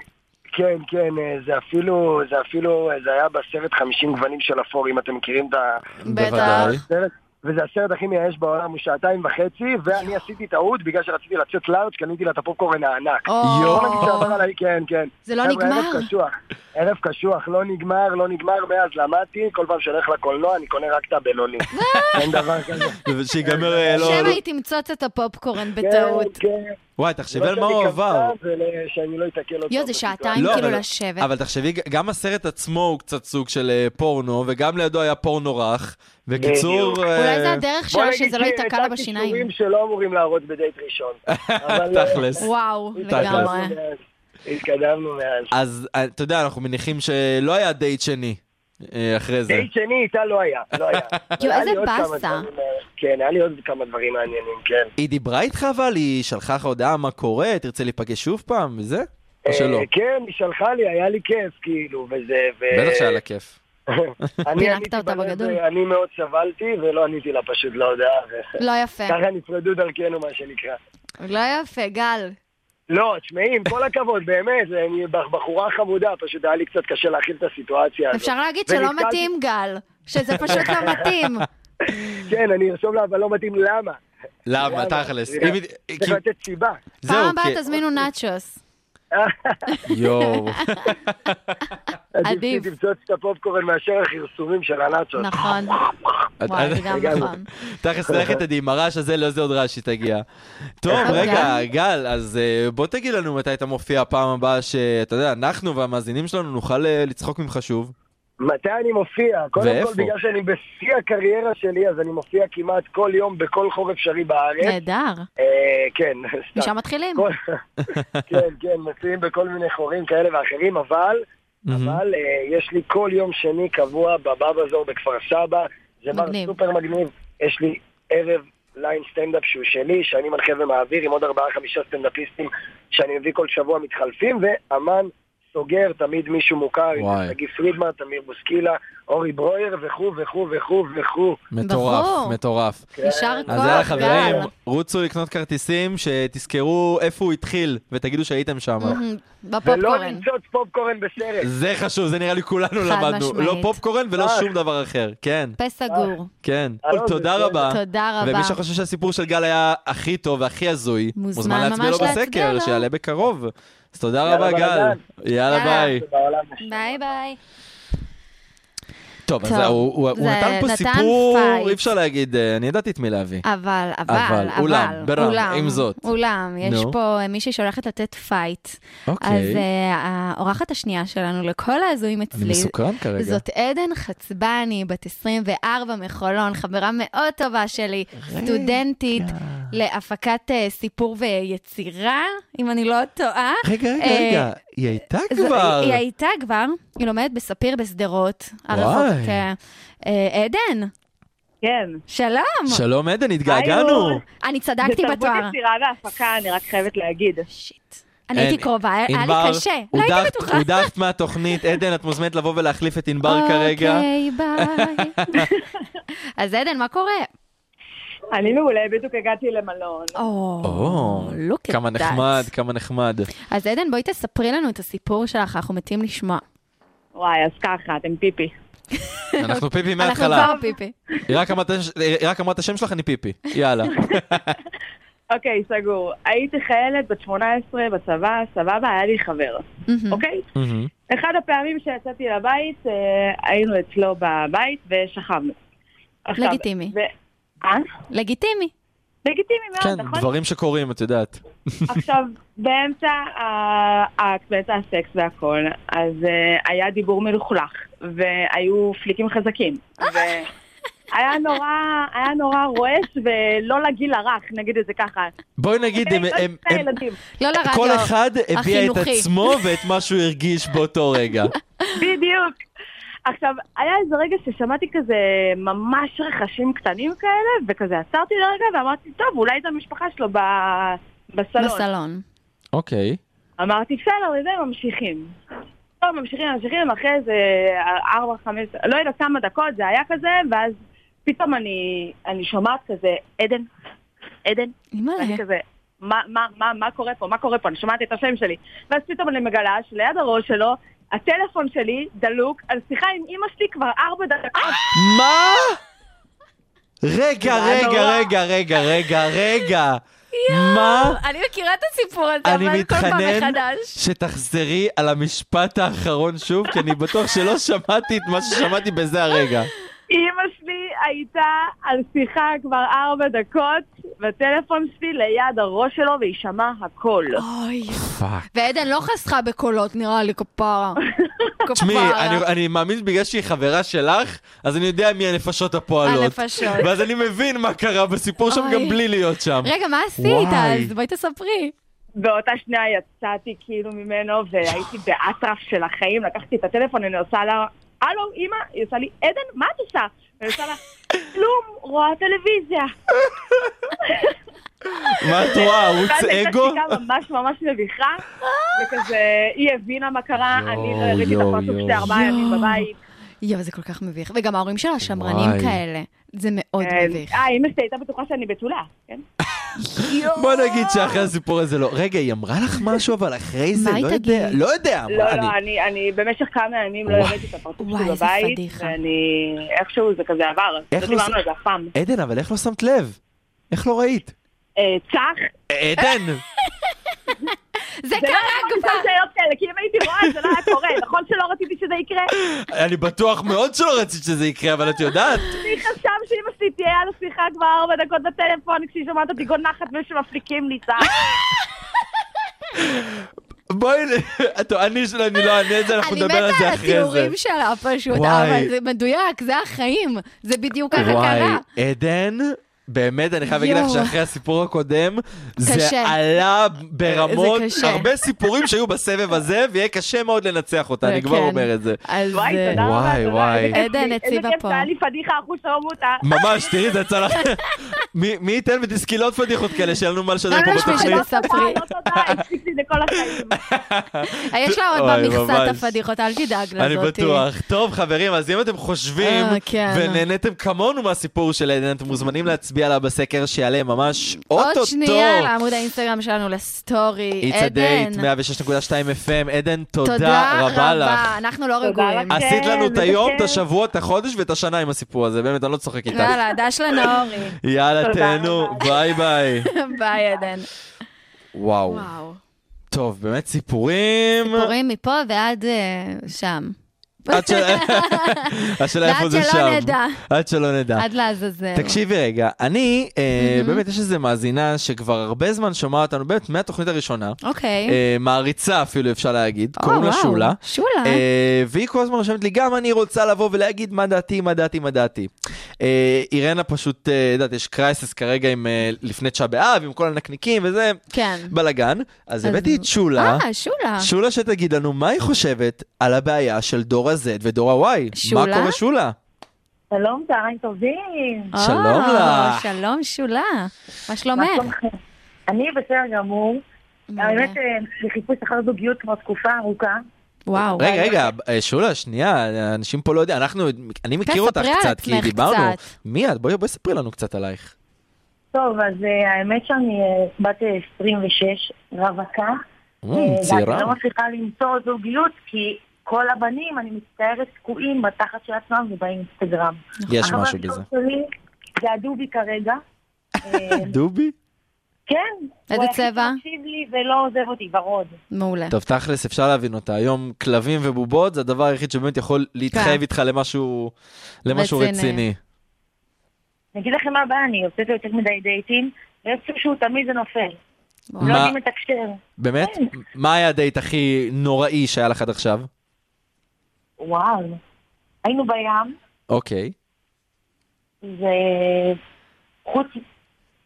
F: כן, כן, אה, זה אפילו, זה אפילו, אה, זה היה בסרט 50 גוונים של אפור, אם אתם מכירים את
D: בוודאי.
F: הסרט. וזה הסרט הכי מייאש בעולם, הוא שעתיים וחצי, ואני עשיתי טעות בגלל שרציתי לצאת לארג', קניתי לה את הפופקורן הענק.
E: או,
D: יואו.
F: בוא נגיד שעבר עליי, כן, כן.
E: זה לא
F: חבר'ה,
E: נגמר.
F: ערב קשוח, ערב קשוח, לא נגמר, לא נגמר, מאז למדתי, כל פעם שאני הולך לקולנוע אני קונה רק את הבינוני. אין דבר כזה.
D: שיגמר, אה, לא...
E: שמא
D: לא-
E: היא תמצוץ את הפופקורן
F: כן,
E: בטעות.
F: כן.
D: וואי, תחשבי על מה
F: לא,
D: הוא עבר.
F: שאני לא אתקל עוד
E: יואו,
F: פעם
E: זה
F: בסיטואציה.
E: שעתיים
D: לא,
E: כאילו
D: אבל-
E: לשבת.
D: אבל תחשבי, גם הסרט עצמו הוא קצת סוג של אה, פורנו, וגם לידו היה פורנו רך.
F: בדיוק.
D: וקיצור...
E: אולי זה
D: אה,
E: הדרך
F: בוא
E: שלה
F: נגיד
E: שזה לא ייתקע לה
F: שהצגתי
E: בשיניים.
F: שיעורים שלא אמורים להראות בדייט ראשון. אבל, אה,
D: תכלס.
E: וואו,
F: התקדמנו
E: לגמרי.
F: מאז. התקדמנו מאז.
D: אז אה, אתה יודע, אנחנו מניחים שלא היה דייט שני אה, אחרי זה.
F: דייט שני איתה לא היה, לא היה. אבל היה
E: איזה
F: לי עוד כמה
E: באסה.
F: דברים, אה, כן, היה לי עוד כמה דברים מעניינים, כן.
D: היא דיברה איתך אבל? היא שלחה לך הודעה מה קורה? תרצה להיפגש שוב פעם וזה? או שלא?
F: אה, כן, היא שלחה לי, היה לי כיף, כאילו, וזה... ו-
D: בטח שהיה לה כיף.
F: אני
E: פינקת
F: עניתי
E: אותה
F: בלב,
E: בגדול.
F: אה, אני מאוד סבלתי, ולא עניתי לה פשוט להודעה. ו-
E: לא יפה.
F: ככה נפרדו דרכנו, מה שנקרא.
E: לא יפה, גל.
F: לא, תשמעי, עם כל הכבוד, באמת, זה- אני בחורה חמודה, פשוט היה לי קצת קשה להכיל את הסיטואציה הזאת.
E: אפשר להגיד שלא
F: אה, ונתקלתי-
E: מתאים, גל. שזה פשוט לא מתאים.
F: כן, אני ארשום לה, אבל לא מתאים למה.
D: למה? תכלס.
F: זה-
D: אה, אם היא-
F: צריך
D: כי-
F: לתת סיבה.
D: זהו,
E: פעם הבאה
D: כי-
E: תזמינו נאצ'וס.
D: יואו.
E: עדיף.
F: עדיף שתמצוץ את הפופקורן מאשר הכרסומים של הנאצות.
E: נכון.
D: אה, את-
E: וואי, זה
D: את-
E: גם
F: לגמרי. כן?
E: נכון.
D: תכלס, לך תדעי, עם הרעש הזה, לא זה עוד רעש שתגיע. טוב,
E: אוקיי.
D: רגע, גל, אז אה, בוא תגיד לנו מתי אתה מופיע הפעם הבאה, שאתה יודע, אנחנו והמאזינים שלנו נוכל אה, לצחוק ממך שוב.
F: מתי אני מופיע? קודם
D: ואיפה?
F: כל, בגלל שאני בשיא הקריירה שלי, אז אני מופיע כמעט כל יום בכל חור אפשרי בארץ.
E: נהדר.
F: אה, כן, סתם.
E: משם מתחילים.
F: כל- כן, כן, מופיעים בכל מיני חורים כאלה ואחרים, אבל אבל אה, יש לי כל יום שני קבוע בבאבא זור בכפר סבא, זה בר
E: מגניב.
F: סופר מגניב, יש לי ערב ליין סטנדאפ שהוא שלי, שאני מנחה ומעביר עם עוד ארבעה חמישה סטנדאפיסטים שאני מביא כל שבוע מתחלפים, ואמן סוגר, תמיד מישהו מוכר, אם
D: וואי.
F: זה שגיא פרידמן, תמיר בוסקילה, אורי ברויר וכו' וכו' וכו' וכו'.
D: מטורף,
E: ברור.
D: מטורף.
E: יישר
F: אה,
E: כוח,
D: אז יאללה חברים,
E: גל.
D: רוצו לקנות כרטיסים, שתזכרו איפה הוא התחיל, ותגידו שהייתם שם.
E: מהמם,
F: ולא
E: בפופקורן.
F: למצוץ פופקורן בסרט.
D: זה חשוב, זה נראה לי כולנו למדנו.
E: משמעית.
D: לא פופקורן ולא שום דבר אחר. כן,
E: פה סגור.
D: כן.
F: אה,
D: תודה
F: זה-
D: רבה.
E: תודה רבה.
D: ומי שחושב שהסיפור של גל היה הכי טוב והכי הזוי,
E: מוזמן
D: מוזמן להצביע
E: ממש
D: לו
E: להצביע
D: בסקר,
E: לו.
D: שיעלה בקרוב. אז תודה
F: יאללה,
D: רבה, גל.
F: בלאגן.
D: יאללה,
E: יאללה.
D: ביי.
F: בעולם יש.
E: ביי ביי.
D: טוב, אז
E: טוב,
D: הוא הוא- הוא
E: זה
D: נתן פה
E: נתן
D: סיפור,
E: פייט.
D: אי אפשר להגיד, אה, אני ידעתי את מי להביא.
E: אבל, אבל,
D: אבל,
E: אבל,
D: אולם, ברם, עם זאת.
E: אולם, יש
D: נו.
E: פה אה, מישהי שהולכת לתת פייט. אז
D: אוקיי,
E: אה, האורחת השנייה שלנו לכל ההזויים
D: אני
E: אצלי,
D: מסוקרן כרגע.
E: זאת עדן חצבני, בת 24 מחולון, חברה מאוד טובה שלי, סטודנטית להפקת אה, סיפור ויצירה, אם אני לא טועה.
D: רגע, רגע,
E: אה,
D: רגע, היא הייתה
E: זו-
D: כבר.
E: היא, היא הייתה כבר, היא לומדת בספיר בשדרות,
D: וואי.
E: הרחוב. אה, אה, עדן,
G: כן.
E: שלום.
D: שלום עדן, התגעגענו.
G: היי,
E: אני צדקתי
G: זה
E: בתואר.
G: תרבות יצירה והפקה, אני רק חייבת להגיד.
E: שיט. אני הייתי קרובה, היה
D: ענבר,
E: לי קשה, לא הייתי
D: הודחת-
E: בטוחה.
D: הודחת מהתוכנית, עדן, את מוזמנת לבוא ולהחליף את ענבר כרגע.
E: אוקיי, ביי. אז עדן, מה קורה?
G: אני מעולה, בדיוק הגעתי למלון.
D: או,
E: או, look at
D: כמה
E: that.
D: נחמד, כמה נחמד.
E: אז עדן, בואי תספרי לנו את הסיפור שלך, אנחנו מתים לשמוע.
G: וואי, אז ככה, אתם פיפי.
D: אנחנו פיפי
E: אנחנו
D: מההתחלה.
E: כבר פיפי.
D: היא רק אמרת- היא רק אמרת השם שלך, אני פיפי. יאללה.
G: אוקיי, סגור. הייתי חיילת בת 18 בצבא, סבבה, היה לי חבר,
E: מהמם.
G: אוקיי? אחד הפעמים שיצאתי לבית, אה, היינו אצלו בבית ושכבנו. עכשיו,
E: לגיטימי.
G: ו- אה?
E: לגיטימי.
G: לגיטימי
E: לא,
G: מאוד,
D: כן,
G: נכון?
D: דברים שקורים, את יודעת.
G: עכשיו, באמצע האקט, באמצע הסקס והכל, אז אה, היה דיבור מלוכלך, והיו פליקים חזקים. והיה נורא, היה נורא רועש ולא לגיל הרך, נגיד את זה ככה.
D: בואי נגיד, הם-
G: לא
D: הם-
G: שני
D: הם-
G: ילדים.
E: לא לרדיו.
D: כל אחד הביע את
E: החינוכי.
D: עצמו ואת מה שהוא הרגיש באותו רגע.
G: בדיוק. עכשיו, היה איזה רגע ששמעתי כזה ממש רחשים קטנים כאלה, וכזה עצרתי לרגע ואמרתי, טוב, אולי זו המשפחה שלו ב... בסלון.
E: בסלון.
D: אוקיי.
G: אמרתי, בסדר, וזה, ממשיכים. טוב, ממשיכים, ממשיכים, אחרי איזה ארבע, חמש, לא יודעת כמה דקות זה היה כזה, ואז פתאום אני, אני שומעת כזה, עדן, עדן, ואני
E: אימא'לה.
G: כזה, מה, מה, מה, מה קורה פה, מה קורה פה, אני שומעת את השם שלי. ואז פתאום אני מגלה שליד הראש שלו, הטלפון שלי דלוק על שיחה עם אימא שלי כבר ארבע דקות.
D: מה? רגע,
G: זה היה
D: רגע,
G: נורא.
D: רגע, רגע, רגע, רגע. מה?
E: אני מכירה את הסיפור הזה,
D: אה? אני
E: אבל כל פעם
D: מתחנן
E: מחדש.
D: שתחזרי על המשפט האחרון שוב, כי אני בטוח שלא שמעתי את מה ששמעתי בזה הרגע.
G: אימא שלי הייתה על שיחה כבר ארבע דקות, בטלפון שלי ליד הראש שלו, והיא שמעה הכל.
E: אוי.
D: פאק.
E: ועדן לא חסכה בקולות, נראה לי, כפרה.
D: תשמעי,
E: כפרה.
D: אני- אני מאמין שבגלל שהיא חברה שלך, אז אני יודע מי הנפשות הפועלות.
E: הנפשות.
D: ואז אני מבין מה קרה בסיפור שם גם
E: אוי.
D: בלי להיות שם.
E: רגע, מה עשית
D: וואי.
E: אז? בואי תספרי.
G: באותה שנייה יצאתי כאילו ממנו, והייתי באטרף של החיים, לקחתי את הטלפון, אני עושה לה, הלו, אימא, היא עושה לי, עדן, מה את עושה? אני עושה לה, כלום, רואה טלוויזיה.
D: מה את רואה, ערוץ
G: ואז הייתה
D: אגו?
G: שתיקה ממש ממש מביכה, וכזה, היא הבינה מה קרה,
D: יואו,
G: אני לא הראיתי את
D: יואו,
G: הפרצוף שלי
D: יואו.
G: ארבעה ימים
E: יואו.
G: בבית.
E: יואו, זה כל כך מביך. וגם ההורים שלה שמרנים
D: וואי.
E: כאלה. זה מאוד
G: אה,
E: מביך.
G: אה, אימא שלי הייתה בטוחה שאני בתולה, כן?
D: בוא נגיד שאחרי הסיפור הזה לא. רגע, היא אמרה לך משהו, אבל אחרי זה,
E: מה היא
D: לא יודע.
E: תגיד?
D: לא יודע,
G: לא,
D: אמרה לי.
G: לא, אני- אני במשך כמה ימים לא
D: וואי.
G: הראיתי את הפרצוף
E: וואי,
G: שלי
E: איזה
G: בבית,
E: פדיחה.
G: ואני, איכשהו זה כזה עבר,
D: איך
G: לא
D: לא
G: דיברנו
D: זה-
G: על זה אף פעם.
D: עדן, אבל איך לא שמת לב? איך לא ראית?
G: אה, צח,
D: עדן!
E: זה
G: זה לא
E: קרה
G: יכול
E: כבר!
G: לשאול שאלות כאלה, כי אם הייתי רואה זה לא היה קורה. נכון שלא רציתי שזה יקרה?
D: אני בטוח מאוד שלא רצית שזה יקרה, אבל את יודעת.
G: מי חשב שאמא שלי תהיה על השיחה כבר ארבע דקות בטלפון כשהיא שומעת אותי גונחת ושמפליקים לי צער?
D: בואי, נ- את- אני שלא, אני לא אענה את זה, אנחנו
E: אני
D: נדבר על
E: מתה
D: זה
E: על
D: אחרי זה.
E: התיאורים שלה פשוט, אה,
D: וואי.
E: אבל זה מדויקק, זה החיים, זה בדיוק ככה
D: וואי,
E: קרה.
D: עדן, באמת, אני חייב להגיד לך
E: יואו.
D: שאחרי הסיפור הקודם, זה
E: קשה.
D: עלה ברמות,
E: זה קשה.
D: הרבה סיפורים שהיו בסבב הזה, ויהיה קשה מאוד לנצח אותה, אני כבר
E: כן.
D: אומר את זה.
E: אז...
G: וואי,
E: אה,
G: תודה רבה.
D: וואי,
G: תודה.
D: וואי.
G: איזה כיף
E: עדן,
G: לי,
E: הציבה
G: איזה כיף,
E: פה.
G: היה לי פדיחה, אחוש שלום אותה.
D: ממש, תראי, זה יצא לך... מי מי ייתן ותזכי לעוד פדיחות כאלה שיהיה לנו מה לשדר פה
E: ממש
D: בתוכנית.
E: בשביל ספרי.
G: לא תודה, הפסיק לי לכל החיים.
E: יש לה עוד
D: אוי, ממש.
E: במכסת הפדיחות, אל תדאג לזאתי.
D: אני בטוח. טוב, חברים, אז אם אתם חושבים
E: אה, כן.
D: ונהנתם כמונו מהסיפור של עדן, אתם מוזמנים להצביע לה בסקר שיעלה ממש
E: עוד
D: אוטוטו.
E: שנייה לעמוד האינסטגרם שלנו לסטורי.
D: It's a
E: עדן,
D: date, 106.2 FM. עדן, תודה
E: תודה
D: רבה לך.
E: רבה. אנחנו לא
G: תודה
E: רגועים.
G: לכם.
D: עשית לנו את
G: איזה
D: היום, את
G: כיף.
D: השבוע, את החודש ואת השנה עם הסיפור הזה, באמת, אני לא צוחק איתך.
E: יאללה, דש לנאורי.
D: יאללה,
G: תודה
D: תהנו,
G: רבה.
D: ביי ביי.
E: ביי, עדן.
D: וואו.
E: וואו.
D: טוב, באמת סיפורים.
E: סיפורים מפה ועד אה, שם.
D: עד ש- השאלה איפה
E: ועד
D: זה
E: שלא
D: שם.
E: נדע.
D: עד שלא נדע.
E: עד לעזאזל.
D: תקשיבי רגע, אני, אה, באמת יש איזו מאזינה שכבר הרבה זמן שומעת אותנו, באמת מהתוכנית הראשונה,
E: אוקיי.
D: אה, מעריצה אפילו אפשר להגיד,
E: או,
D: קוראים לה
E: וואו,
D: שולה.
E: שולה.
D: אה, והיא כל הזמן רושמת לי, גם אני רוצה לבוא ולהגיד מה דעתי, מה דעתי, מה דעתי. אה, אירנה פשוט, אה, יודעת, יש קרייסס כרגע עם אה, לפני תשעה באב, עם כל הנקניקים וזה,
E: כן.
D: בלאגן. אז הבאתי את שולה.
E: אה, שולה.
D: שולה שתגיד לנו מה היא חושבת על הבעיה של דור ה-Z ודור ה-Y.
E: שולה?
D: מה קורה שולה?
G: שלום, צהריים טובים.
E: או,
D: שלום לך.
E: אה, שלום, שולה. מה
G: מה
E: שלומך?
G: שלומכם? אני בסדר גמור. האמת, אה, בחיפוש אחר זוגיות כבר תקופה ארוכה.
E: וואו.
D: רגע, רגע, אה, שולה, שנייה, אנשים פה לא יודעים, אנחנו, אני מכיר אותך
E: ספרי על
D: קצת, כי
E: עצמך
D: דיברנו.
E: קצת.
D: מי את? בואי בואי ספרי לנו קצת עלייך.
G: טוב, אז אה, האמת שאני אה, בת אה, 26, רווקה.
D: Mm,
G: אה,
D: צעירה.
G: ואני לא מצליחה למצוא זוגיות, כי כל הבנים, אני מצטערת, תקועים בתחת של עצמם ובאינסטגרם.
D: יש
G: החבר
D: משהו
G: הטוב
D: בזה.
G: שלי זה הדובי כרגע. אה,
D: דובי?
G: כן.
E: איזה
G: הוא היחיד
E: צבע?
G: שמקשיב לי ולא עוזב אותי, ורוד.
E: מעולה.
D: טוב, תכלס, אפשר להבין אותה. היום כלבים ובובות זה הדבר היחיד שבאמת יכול להתחייב
E: כן.
D: איתך למשהו למשהו
E: רציני.
D: רציני.
G: אני אגיד לכם מה הבעיה, אני יוצאת יותר מדי דייטים, ויש שהוא תמיד זה נופל.
E: וואו.
G: לא
D: מה-
G: יודעים לתקשר.
D: באמת?
G: כן.
D: מה היה הדייט הכי נוראי שהיה לך עד עכשיו?
G: וואו. היינו בים,
D: אוקיי.
G: וחוץ...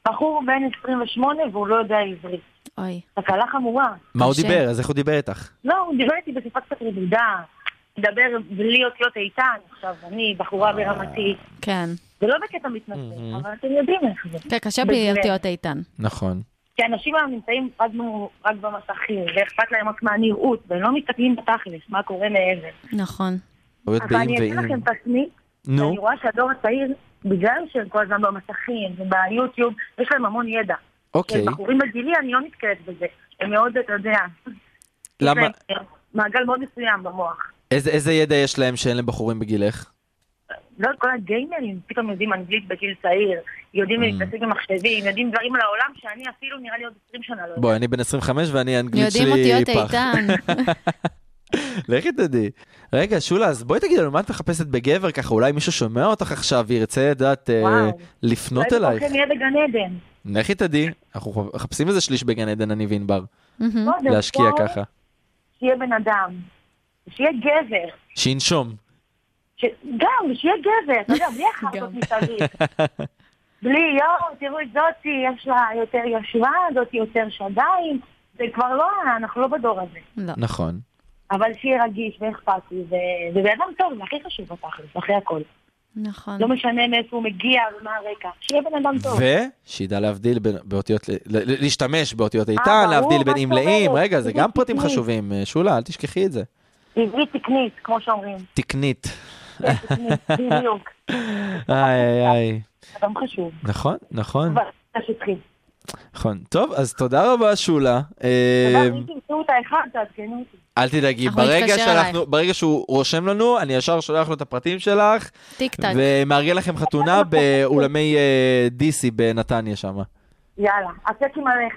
G: בחור בן 28 והוא לא יודע עברית.
E: אוי.
G: תקלה חמורה.
D: מה הוא
E: קשה.
D: דיבר? אז איך הוא דיבר איתך?
G: לא, הוא דיבר איתי בשפה קצת רדודה. מדבר בלי אותיות איתן. עכשיו, אני
D: אה.
G: בחורה ברמתי.
E: כן.
G: זה לא בקטע מתנשא, אבל אתם יודעים איך זה.
E: כן, קשה בלי
G: בהחלט.
E: אותיות איתן.
D: נכון.
G: כי אנשים היום נמצאים רק ב- רק במסכים, ואכפת להם רק מהנראות, והם לא מסתכלים בתכלס, מה קורה מעבר.
E: נכון.
D: טעויות
G: אבל
D: באים
G: אני אגיד
D: ואם.
G: לכם את עצמי,
D: נו,
G: אני רואה שהדור הצעיר, בגלל שהם כל הזמן במסכים וביוטיוב, יש להם המון ידע.
D: אוקיי.
G: הם בחורים בגילי, אני לא נתקלת בזה. הם מאוד, אתה יודע, יש
D: למה?
G: להם מעגל מאוד מסוים במוח.
D: איזה איזה ידע יש להם שאין לבחורים בגילך?
G: לא כל הגיימרים פתאום יודעים אנגלית בגיל צעיר,
D: Mm.
G: יודעים להתעסק במחשבים, יודעים דברים על העולם שאני אפילו נראה לי עוד 20 שנה לא יודעת.
D: בואי, אני בן 25 ואני האנגלית
E: יודעים
D: שלי
E: אותיות
D: פח.
E: איתן.
D: לכי תדעי. רגע, שולה, אז בואי תגידי לנו מה את מחפשת בגבר ככה, אולי מישהו שומע אותך עכשיו וירצה, את יודעת, אה,
G: וואו.
D: לפנות אלייך.
G: אולי זה יהיה בגן עדן.
D: לכי תדעי, אנחנו מחפשים איזה שליש בגן עדן, אני וענבר,
E: מהמם.
G: קודם
D: להשקיע
G: כל,
D: ככה.
G: שיהיה בן אדם, שיהיה גבר,
D: שינשום.
G: ש... גם, שיהיה גבר, אתה יודע, בלי החרטות
E: גם.
G: מסביב. בלי, יואו, תראו את זאתי, יש לה יותר יושרה, זאתי יותר שדיים, זה כבר לא, אנחנו לא בדור הזה.
E: לא.
D: נכון.
G: אבל שיהיה רגיש ואכפתי, ו- ובן אדם טוב, זה הכי חשוב בתכלס, אחרי הכל.
E: נכון.
G: לא משנה מאיפה הוא מגיע ומה הרקע, שיהיה בן אדם טוב.
D: ושידע להבדיל בין באותיות, ל- ל- להשתמש באותיות
G: אה, ברור,
D: איתן, להבדיל בין
G: מה
D: אם
G: זאת
D: לאים,
G: אומרת?
D: רגע, זה
G: זה
D: גם פרטים
G: תקנית.
D: חשובים, אה, שולה, אל תשכחי את זה.
G: עברית תקנית, כמו שאומרים.
D: תקנית.
G: כן, תקנית, בדיוק.
D: איי איי איי.
G: אדם חשוב.
D: נכון, נכון,
G: אבל, זה שטחי.
D: נכון. טוב, אז תודה רבה, שולה. אה,
G: אבל אם תמצאו את האחד, תעדכנו אותי.
D: אל תדאגי,
E: אנחנו
D: ברגע
E: נתקשר
D: שאנחנו, ברגע שהוא רושם לנו, אני ישר שולח לו את הפרטים שלך,
E: טיק טק.
D: ומארגן לכם חתונה באולמי אה, דיסי בנתניה שם.
G: יאללה, הצ'קים עליך.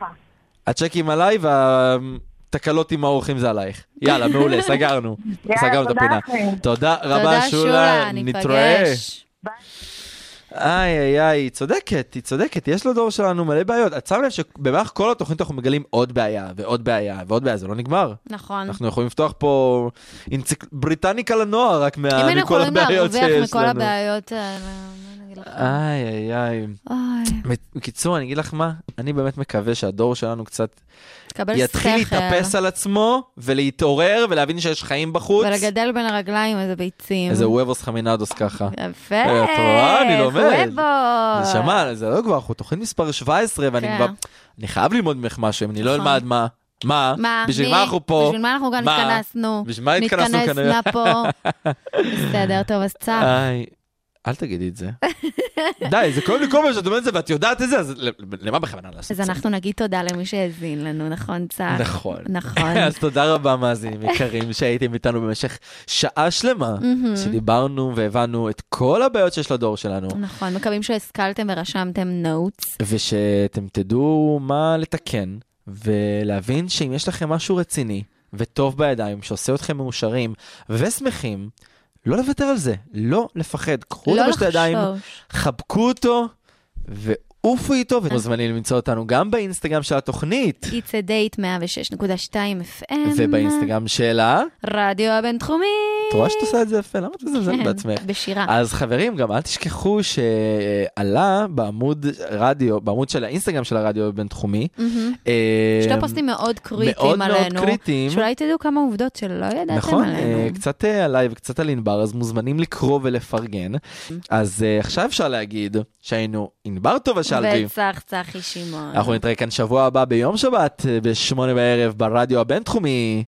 D: הצ'קים עליי והתקלות עם האורחים זה עלייך. יאללה, מעולה, סגרנו.
G: יאללה,
D: סגרנו את
G: תודה
D: הפינה.
G: לכם.
D: תודה רבה,
E: תודה,
D: שולה,
E: שולה,
D: נתראה.
E: ניפגש.
D: איי איי איי, היא צודקת, היא צודקת, יש לדור שלנו מלא בעיות. את שם לב שבמהלך כל התוכנית אנחנו מגלים עוד בעיה ועוד בעיה ועוד בעיה, זה לא נגמר.
E: נכון.
D: אנחנו יכולים לפתוח פה אינציק- בריטניקה לנוער רק מה-
E: אם היינו
D: מכל
E: יכולים
D: הבעיות
E: להרוויח
D: שיש
E: מכל
D: לנו. אה,
E: הבעיות האלה, מה נגיד לך.
D: איי איי איי.
E: אוי,
D: בקיצור, אני אגיד לך מה, אני באמת מקווה שהדור שלנו קצת
E: תקבל שכל.
D: יתחיל להתאפס על עצמו ולהתעורר ולהבין שיש חיים בחוץ.
E: ולגדל בין הרגליים איזה ביצים.
D: איזה וובוס חמינדוס ככה.
E: יפה.
D: אה, את רואה? אני לומד.
E: וובו.
D: נשמה, זה לא כבר, אנחנו תוכנית מספר 17, ואני
E: כן.
D: כבר... אני חייב ללמוד ממך משהו, אם אני לא
E: נכון.
D: אלמד מה... מה?
E: מה?
D: בשביל
E: מי?
D: מה אנחנו פה?
E: בשביל מה אנחנו כאן
D: מה?
E: התכנסנו?
D: בשביל מה התכנסנו כנראה? אה,
E: נתכנס מה פה? בסדר, טוב, אז צח.
D: איי, אל תגידי את זה. די, זה כואב לי כל פעם שאת אומרת את זה ואת יודעת את זה, אז ל- למה בכוונה לעשות את
E: אז
D: זה?
E: אנחנו נגיד תודה למי שהאזין לנו, נכון, צח?
D: נכון.
E: נכון.
D: אז תודה רבה, מאזינים יקרים, שהייתם איתנו במשך שעה שלמה,
E: מהמם.
D: שדיברנו והבנו את כל הבעיות שיש לדור שלנו,
E: נכון, מקווים שהשכלתם ורשמתם נוטס.
D: ושאתם תדעו מה לתקן, ולהבין שאם יש לכם משהו רציני וטוב בידיים, שעושה אתכם מאושרים ושמחים, לא לוותר על זה, לא לפחד, קחו
E: לא
D: אותו בשתי ידיים,
E: לחשוש.
D: חבקו אותו, ועופו איתו,
E: אה.
D: ומוזמנים למצוא אותנו גם באינסטגרם של התוכנית,
E: It's a date 106.2 FM.
D: ובאינסטגרם של ה...
E: רדיו הבינתחומי.
D: את רואה שאת עושה את זה יפה, למה את מזלזלת
E: כן,
D: בעצמך? אה,
E: בשירה.
D: אז חברים, גם אל תשכחו שעלה בעמוד רדיו, בעמוד של האינסטגרם של הרדיו הבינתחומי.
E: מהמם.
D: אה,
E: שתי פוסטים מאוד
D: מאוד
E: קריטיים
D: מאוד
E: עלינו.
D: קריטיים.
E: שאולי תדעו כמה עובדות שלא ידעתם
D: נכון,
E: עלינו.
D: אה, קצת אה, עליי וקצת על ענבר, אז מוזמנים לקרוא ולפרגן.
E: Mm.
D: אז אה, עכשיו אפשר להגיד שהיינו ענבר טובה שלוי.
E: וצח צחי שמעון.
D: אנחנו נתראה כאן שבוע הבא ביום שבת, אה, בשמונה בערב, ברדיו הבינתחומי.